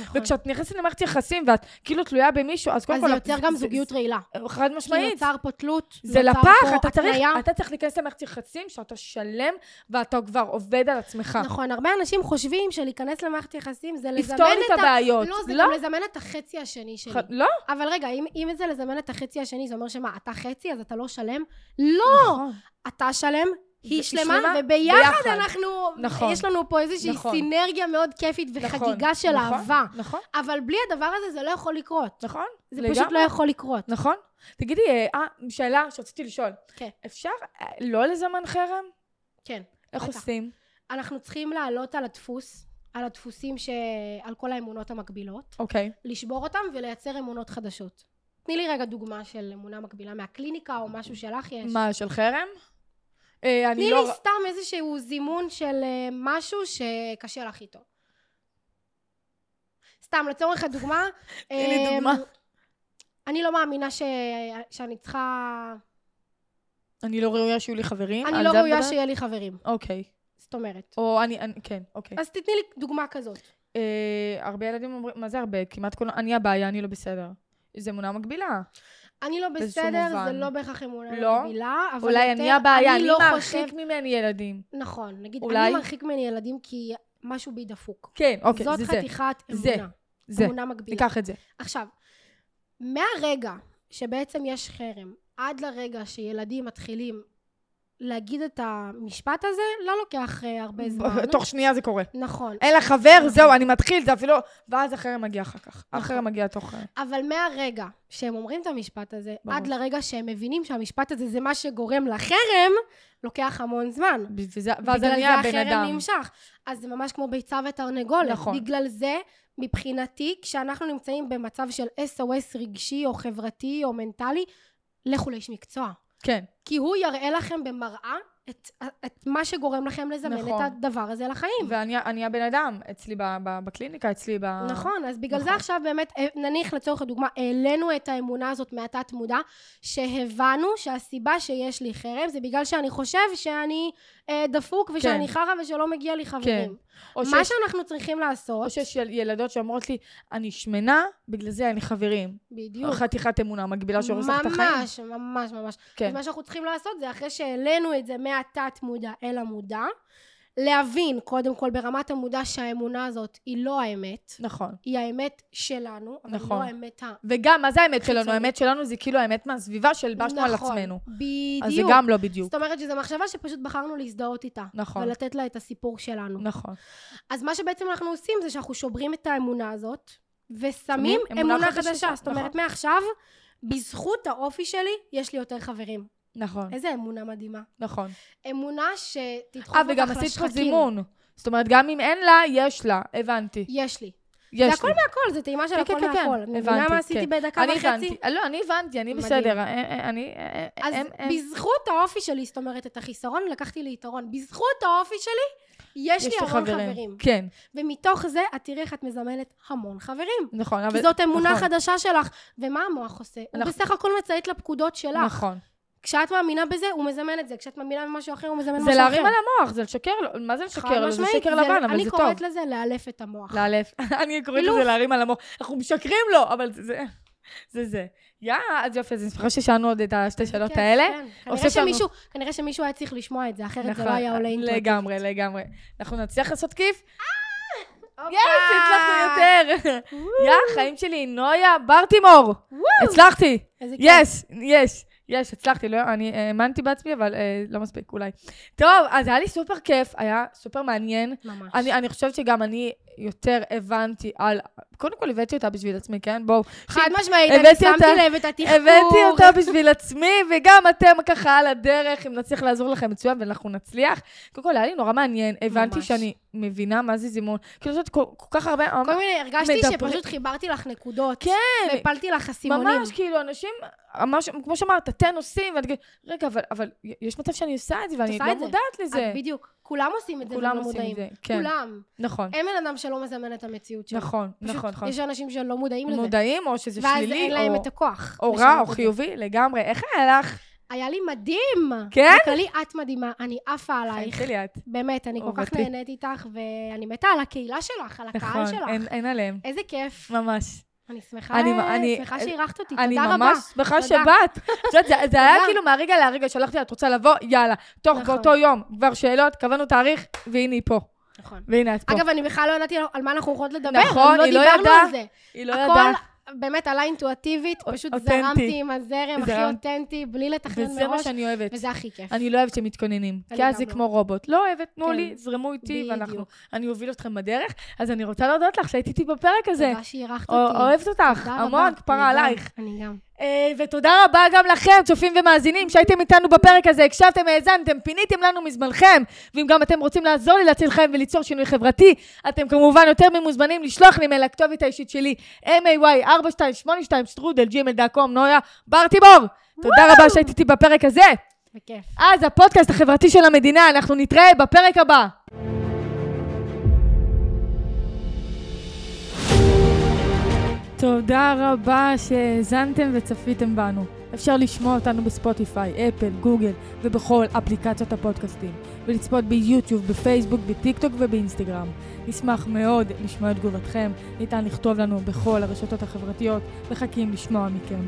[SPEAKER 3] נכון.
[SPEAKER 2] וכשאת נכנסת למערכת יחסים ואת כאילו תלויה במישו, אז קודם
[SPEAKER 3] אז
[SPEAKER 2] כל...
[SPEAKER 3] זה יוצר גם
[SPEAKER 2] זה-
[SPEAKER 3] זוגיות רעילה.
[SPEAKER 2] חד
[SPEAKER 3] כי
[SPEAKER 2] משמעית.
[SPEAKER 3] נוצר פה תלות,
[SPEAKER 2] זה
[SPEAKER 3] נוצר
[SPEAKER 2] לפח,
[SPEAKER 3] פה
[SPEAKER 2] אתה צריך, אה,
[SPEAKER 3] התניה.
[SPEAKER 2] אתה צריך להיכנס למערכת יחסים שאתה שלם ואתה כבר עובד על עצמך.
[SPEAKER 3] נכון, הרבה אנשים חושבים שלהיכנס למערכת יחסים זה לזמן
[SPEAKER 2] אה. לפתור לי את
[SPEAKER 3] ה...
[SPEAKER 2] הבעיות.
[SPEAKER 3] לא, זה גם לזמן את החצי השני שלי.
[SPEAKER 2] ח- לא,
[SPEAKER 3] אבל רגע, אם, אם זה לזמן את החצי השני, זה אומר שמה, אתה חצי, אז אתה לא שלם? לא!
[SPEAKER 2] נכון.
[SPEAKER 3] אתה שלם,
[SPEAKER 2] היא
[SPEAKER 3] היא שלמה,
[SPEAKER 2] שלמה,
[SPEAKER 3] וביחד
[SPEAKER 2] ביחד.
[SPEAKER 3] אנחנו...
[SPEAKER 2] נכון.
[SPEAKER 3] יש לנו פה איזושהי
[SPEAKER 2] נכון.
[SPEAKER 3] סינרגיה מאוד כיפית וחגיגה
[SPEAKER 2] נכון,
[SPEAKER 3] של
[SPEAKER 2] נכון,
[SPEAKER 3] אהבה.
[SPEAKER 2] נכון,
[SPEAKER 3] אבל בלי הדבר הזה זה לא יכול לקרות.
[SPEAKER 2] נכון.
[SPEAKER 3] זה
[SPEAKER 2] לגמרי.
[SPEAKER 3] פשוט לא יכול לקרות.
[SPEAKER 2] נכון. תגידי, אה, אה, שאלה שרציתי לשאול.
[SPEAKER 3] כן.
[SPEAKER 2] אפשר אה, לא לזמן חרם?
[SPEAKER 3] כן.
[SPEAKER 2] איך
[SPEAKER 3] בטח.
[SPEAKER 2] עושים?
[SPEAKER 3] אנחנו צריכים לעלות על הדפוס, על הדפוסים ש... על כל האמונות המקבילות,
[SPEAKER 2] אוקיי.
[SPEAKER 3] לשבור אותם ולייצר אמונות חדשות. תני לי רגע דוגמה של אמונה מקבילה מהקליניקה או משהו שלך יש.
[SPEAKER 2] מה, של חרם? אה, אני
[SPEAKER 3] תני
[SPEAKER 2] לא...
[SPEAKER 3] לי סתם איזשהו זימון של אה, משהו שקשה לך איתו. סתם, לצורך הדוגמה,
[SPEAKER 2] תני לי
[SPEAKER 3] אה,
[SPEAKER 2] דוגמה.
[SPEAKER 3] אני לא מאמינה ש... שאני צריכה...
[SPEAKER 2] אני לא ראויה שיהיו לי חברים?
[SPEAKER 3] אני
[SPEAKER 2] על
[SPEAKER 3] לא
[SPEAKER 2] זה את
[SPEAKER 3] ראויה
[SPEAKER 2] מדברת?
[SPEAKER 3] שיהיה לי חברים.
[SPEAKER 2] אוקיי.
[SPEAKER 3] זאת אומרת.
[SPEAKER 2] או אני, אני- כן, אוקיי.
[SPEAKER 3] אז תתני לי דוגמה כזאת.
[SPEAKER 2] אה, הרבה ילדים אומרים, מה זה הרבה? כמעט כולם, אני הבעיה, אני לא בסדר. זה אמונה מגבילה.
[SPEAKER 3] אני לא
[SPEAKER 2] באיזשהו
[SPEAKER 3] בסדר, זה
[SPEAKER 2] מובן.
[SPEAKER 3] לא בהכרח אמונה
[SPEAKER 2] לא.
[SPEAKER 3] מקבילה, אבל
[SPEAKER 2] אולי
[SPEAKER 3] יותר,
[SPEAKER 2] אני הבעיה,
[SPEAKER 3] אני
[SPEAKER 2] אני
[SPEAKER 3] לא חושב...
[SPEAKER 2] מרחיק ממני ילדים.
[SPEAKER 3] נכון, נגיד,
[SPEAKER 2] אולי?
[SPEAKER 3] אני מרחיק ממני ילדים כי משהו בי דפוק.
[SPEAKER 2] כן, אוקיי,
[SPEAKER 3] זאת
[SPEAKER 2] זה זה.
[SPEAKER 3] חתיכת
[SPEAKER 2] זה,
[SPEAKER 3] אמונה.
[SPEAKER 2] זה.
[SPEAKER 3] אמונה מקבילה.
[SPEAKER 2] ניקח את זה.
[SPEAKER 3] עכשיו, מהרגע שבעצם יש חרם, עד לרגע שילדים מתחילים להגיד את המשפט הזה לא לוקח אה, הרבה זמן.
[SPEAKER 2] תוך שנייה אה. זה קורה.
[SPEAKER 3] נכון.
[SPEAKER 2] אין לה חבר, זהו, אני מתחיל, זה אפילו... ואז החרם מגיע אחר כך.
[SPEAKER 3] נכון.
[SPEAKER 2] החרם מגיע תוך...
[SPEAKER 3] אבל מהרגע שהם אומרים את המשפט הזה,
[SPEAKER 2] ברור.
[SPEAKER 3] עד לרגע שהם מבינים שהמשפט הזה זה מה שגורם לחרם, לוקח המון זמן.
[SPEAKER 2] וזה- ואז
[SPEAKER 3] בגלל
[SPEAKER 2] אני
[SPEAKER 3] זה
[SPEAKER 2] הבן
[SPEAKER 3] החרם
[SPEAKER 2] אדם.
[SPEAKER 3] נמשך. אז זה ממש כמו ביצה ותרנגולת.
[SPEAKER 2] נכון.
[SPEAKER 3] נכון. בגלל זה, מבחינתי, כשאנחנו נמצאים במצב של SOS רגשי או חברתי או מנטלי, לכו לאיש מקצוע.
[SPEAKER 2] כן.
[SPEAKER 3] כי הוא יראה לכם במראה את, את מה שגורם לכם לזמן
[SPEAKER 2] נכון.
[SPEAKER 3] נכון. את הדבר הזה לחיים.
[SPEAKER 2] ואני אני הבן אדם, אצלי ב- ב- בקליניקה, אצלי ב...
[SPEAKER 3] נכון, אז בגלל
[SPEAKER 2] נכון.
[SPEAKER 3] זה עכשיו באמת, אה, נניח לצורך הדוגמה, העלינו את האמונה הזאת מהתת מודע, שהבנו שהסיבה שיש לי חרם זה בגלל שאני חושב שאני אה, דפוק ושאני
[SPEAKER 2] כן.
[SPEAKER 3] חרא ושלא מגיע לי חברים.
[SPEAKER 2] או
[SPEAKER 3] מה
[SPEAKER 2] שיש-
[SPEAKER 3] שאנחנו צריכים לעשות,
[SPEAKER 2] או שיש יל- ילדות שאומרות לי, אני שמנה, בגלל זה אין לי חברים.
[SPEAKER 3] בדיוק,
[SPEAKER 2] חתיכת אמונה מגבילה שהורסת לך את החיים.
[SPEAKER 3] ממש, ממש, ממש.
[SPEAKER 2] כן.
[SPEAKER 3] אז מה שאנחנו צריכים לעשות זה אחרי שהעלינו את זה מהתת מודע אל המודע, להבין קודם כל ברמת המודע שהאמונה הזאת היא לא האמת,
[SPEAKER 2] נכון.
[SPEAKER 3] היא האמת שלנו, אבל
[SPEAKER 2] נכון.
[SPEAKER 3] נכון. לא האמת ה...
[SPEAKER 2] וגם, מה זה האמת שלנו?
[SPEAKER 3] חיצוני.
[SPEAKER 2] האמת שלנו זה כאילו האמת מהסביבה שהלבשנו על
[SPEAKER 3] נכון,
[SPEAKER 2] עצמנו.
[SPEAKER 3] בדיוק.
[SPEAKER 2] אז זה גם לא בדיוק.
[SPEAKER 3] זאת אומרת שזו מחשבה שפשוט בחרנו להזדהות איתה.
[SPEAKER 2] נכון.
[SPEAKER 3] ולתת לה את הסיפור שלנו.
[SPEAKER 2] נכון.
[SPEAKER 3] אז מה שבעצם אנחנו עושים זה שאנחנו שוברים את האמונה הזאת,
[SPEAKER 2] שמים
[SPEAKER 3] ושמים
[SPEAKER 2] אמונה
[SPEAKER 3] אמונה,
[SPEAKER 2] חדשה,
[SPEAKER 3] חדשה. זאת אומרת,
[SPEAKER 2] נכון.
[SPEAKER 3] מעכשיו, בזכות האופי שלי, יש לי יותר חברים.
[SPEAKER 2] נכון,
[SPEAKER 3] איזה אמונה מדהימה.
[SPEAKER 2] נכון.
[SPEAKER 3] אמונה שתדחוף
[SPEAKER 2] אה,
[SPEAKER 3] אותך לשחקים.
[SPEAKER 2] וגם עשית פה זימון. זאת אומרת, גם אם אין לה, יש לה. הבנתי.
[SPEAKER 3] יש לי.
[SPEAKER 2] יש לי.
[SPEAKER 3] זה הכל מהכל, זה טעימה של
[SPEAKER 2] כן,
[SPEAKER 3] הכל
[SPEAKER 2] כן, כן, כן.
[SPEAKER 3] מהכל. אני מבינה
[SPEAKER 2] הבנתי,
[SPEAKER 3] מה
[SPEAKER 2] כן.
[SPEAKER 3] עשיתי בדקה
[SPEAKER 2] אני
[SPEAKER 3] וחצי?
[SPEAKER 2] הבנתי. לא, אני הבנתי, אני
[SPEAKER 3] מדהים.
[SPEAKER 2] בסדר. אה, אה, אני... אה, אה,
[SPEAKER 3] אז
[SPEAKER 2] הם- הם-
[SPEAKER 3] בזכות האופי שלי, זאת אומרת, את החיסרון לקחתי ליתרון. בזכות האופי שלי, יש לי
[SPEAKER 2] לי
[SPEAKER 3] המון חברים.
[SPEAKER 2] כן,
[SPEAKER 3] ומתוך זה את תראי איך את מזמנת המון חברים.
[SPEAKER 2] נכון.
[SPEAKER 3] כי
[SPEAKER 2] אבל-
[SPEAKER 3] זאת אמונה
[SPEAKER 2] נכון,
[SPEAKER 3] חדשה שלך. ומה המוח עושה? הוא
[SPEAKER 2] אנחנו-
[SPEAKER 3] בסך הכל מציית לפקודות שלך.
[SPEAKER 2] נכון.
[SPEAKER 3] כשאת מאמינה בזה, הוא מזמן את זה. כשאת מאמינה במשהו אחר, הוא מזמן משהו
[SPEAKER 2] זה
[SPEAKER 3] אחר.
[SPEAKER 2] להרים על המוח, זה לשקר לו. מה זה לשקר לו? זה
[SPEAKER 3] חד-משמעית,
[SPEAKER 2] שקר לבן, אבל זה
[SPEAKER 3] אני
[SPEAKER 2] טוב.
[SPEAKER 3] קוראת לזה לאלף את המוח.
[SPEAKER 2] לאלף. אני קוראת לזה
[SPEAKER 3] אילוף.
[SPEAKER 2] להרים על המוח. אנחנו משקרים לו, אבל זה זה. זה זה. יא, אז יופי, אז אני שמחה ששאלנו עוד את השתי שאלות
[SPEAKER 3] כיף,
[SPEAKER 2] האלה.
[SPEAKER 3] כן.
[SPEAKER 2] הוספת
[SPEAKER 3] כנראה
[SPEAKER 2] לנו-
[SPEAKER 3] שמישהו- כנראה שמישהו היה צריך לשמוע את זה, אחרת זה
[SPEAKER 2] נכון,
[SPEAKER 3] לא היה עולה אינטואיטיבית.
[SPEAKER 2] לגמרי, לגמרי. אנחנו נצליח לעשות כיף?
[SPEAKER 3] הופה!
[SPEAKER 2] יס, הצלחנו יותר. יא, חיים שלי, נויה ברטימור. הצלחתי.
[SPEAKER 3] איזה כיף.
[SPEAKER 2] יס, יש, יש, הצלחתי, לא, אני האמנתי בעצמי, אבל אה, לא מספיק, אולי. טוב, אז היה לי סופר כיף, היה סופר מעניין.
[SPEAKER 3] ממש.
[SPEAKER 2] אני, אני חושבת שגם אני יותר הבנתי על... קודם כל הבאתי אותה בשביל עצמי, כן? בואו.
[SPEAKER 3] חד משמעית,
[SPEAKER 2] הבאתי
[SPEAKER 3] אני שמתי
[SPEAKER 2] אותה-
[SPEAKER 3] לב את התחקור.
[SPEAKER 2] הבאתי אותה בשביל עצמי, וגם אתם ככה על הדרך, אם נצליח לעזור לכם מצוין, ואנחנו נצליח. קודם כל, היה לי נורא מעניין, הבנתי
[SPEAKER 3] ממש.
[SPEAKER 2] שאני מבינה מה זה זימון. כאילו, זאת כל, כל כך הרבה...
[SPEAKER 3] כל מיני, הרגשתי
[SPEAKER 2] מדבר-
[SPEAKER 3] שפשוט חיברתי לך נקודות.
[SPEAKER 2] כן,
[SPEAKER 3] והפלתי לך אסימונים.
[SPEAKER 2] ממש, כאילו, אנשים, ממש, כמו שאמרת, אתן עושים, ואת כאילו, רגע, אבל, אבל יש מצב שאני עושה את זה, ואני
[SPEAKER 3] עושה
[SPEAKER 2] לא
[SPEAKER 3] את זה.
[SPEAKER 2] מודעת לזה.
[SPEAKER 3] את בדיוק. כולם עושים את זה,
[SPEAKER 2] כולם
[SPEAKER 3] ולא
[SPEAKER 2] עושים את
[SPEAKER 3] מודעים.
[SPEAKER 2] זה, כן.
[SPEAKER 3] כולם.
[SPEAKER 2] נכון,
[SPEAKER 3] אין בן אדם שלא מזמן את המציאות שלו.
[SPEAKER 2] נכון,
[SPEAKER 3] פשוט
[SPEAKER 2] נכון, נכון.
[SPEAKER 3] יש אנשים שלא מודעים לזה.
[SPEAKER 2] מודעים, או שזה
[SPEAKER 3] ואז
[SPEAKER 2] שלילי,
[SPEAKER 3] אין להם
[SPEAKER 2] או-
[SPEAKER 3] את הכוח.
[SPEAKER 2] או
[SPEAKER 3] לשנות
[SPEAKER 2] רע, או
[SPEAKER 3] את זה.
[SPEAKER 2] חיובי, לגמרי. איך היה לך?
[SPEAKER 3] היה לי מדהים!
[SPEAKER 2] כן?
[SPEAKER 3] בכללי את מדהימה, אני עפה
[SPEAKER 2] חיים
[SPEAKER 3] עלייך.
[SPEAKER 2] שלי את.
[SPEAKER 3] באמת, אני כל כך
[SPEAKER 2] אהובתי.
[SPEAKER 3] נהנית איתך, ואני מתה על הקהילה שלך, על הקהל
[SPEAKER 2] נכון, אין-
[SPEAKER 3] שלך.
[SPEAKER 2] אין עליהם.
[SPEAKER 3] איזה כיף.
[SPEAKER 2] ממש.
[SPEAKER 3] אני שמחה
[SPEAKER 2] אני- אני-
[SPEAKER 3] שמחה שאירחת אותי,
[SPEAKER 2] אני
[SPEAKER 3] תודה רבה.
[SPEAKER 2] ממש שמחה
[SPEAKER 3] תודה.
[SPEAKER 2] שבאת. את יודעת, זה- זה היה
[SPEAKER 3] תודה.
[SPEAKER 2] כאילו מהרגע להרגע, שלחתי לה, את רוצה לבוא? יאללה. תוך
[SPEAKER 3] נכון.
[SPEAKER 2] באותו יום, כבר שאלות, קבענו תאריך, והנה היא פה.
[SPEAKER 3] נכון.
[SPEAKER 2] והנה את פה.
[SPEAKER 3] אגב, אני בכלל לא ידעתי על מה אנחנו הולכות לדבר.
[SPEAKER 2] נכון, היא לא
[SPEAKER 3] דיברנו
[SPEAKER 2] ידעה.
[SPEAKER 3] על זה.
[SPEAKER 2] היא לא ידעה.
[SPEAKER 3] הכל באמת עלה אינטואיטיבית, פשוט
[SPEAKER 2] אותנטי.
[SPEAKER 3] זרמתי עם הזרם הכי
[SPEAKER 2] זרמת.
[SPEAKER 3] אותנטי, בלי לתכנן
[SPEAKER 2] וזה מה
[SPEAKER 3] מראש,
[SPEAKER 2] שאני אוהבת.
[SPEAKER 3] וזה הכי כיף.
[SPEAKER 2] אני לא אוהבת שמתכוננים, כי
[SPEAKER 3] אני
[SPEAKER 2] אז
[SPEAKER 3] גם
[SPEAKER 2] זה
[SPEAKER 3] לא.
[SPEAKER 2] כמו רובוט. לא אוהבת, תנו
[SPEAKER 3] כן.
[SPEAKER 2] לי, זרמו איתי,
[SPEAKER 3] בדיוק.
[SPEAKER 2] ואנחנו... אני אוביל אתכם בדרך, אז אני רוצה להודות לך שהיית איתי בפרק הזה.
[SPEAKER 3] תודה שאירחת
[SPEAKER 2] אה,
[SPEAKER 3] אותי.
[SPEAKER 2] אוהבת אותך,
[SPEAKER 3] תודה רבה.
[SPEAKER 2] המון, כפרה
[SPEAKER 3] אני גם,
[SPEAKER 2] עלייך.
[SPEAKER 3] אני גם.
[SPEAKER 2] אה, ותודה רבה גם לכם, צופים ומאזינים, שהייתם איתנו בפרק הזה, הקשבתם, האזנתם, פיניתם לנו מזמנכם, ואם גם אתם רוצים לעזור לי להציל חיים וליצור שינוי חברתי, אתם כמובן יותר ממוזמנים לשלוח לי מייל לכתובת האישית שלי, may4282strudel@gmail.com, נויה ברטיבור. תודה רבה שהייתי איתי בפרק הזה.
[SPEAKER 3] בכיף.
[SPEAKER 2] אז הפודקאסט החברתי של המדינה, אנחנו נתראה בפרק הבא. תודה רבה שהאזנתם וצפיתם בנו. אפשר לשמוע אותנו בספוטיפיי, אפל, גוגל ובכל אפליקציות הפודקאסטים, ולצפות ביוטיוב, בפייסבוק, בטיקטוק ובאינסטגרם. נשמח מאוד לשמוע את תגובתכם, ניתן לכתוב לנו בכל הרשתות החברתיות, מחכים לשמוע מכם.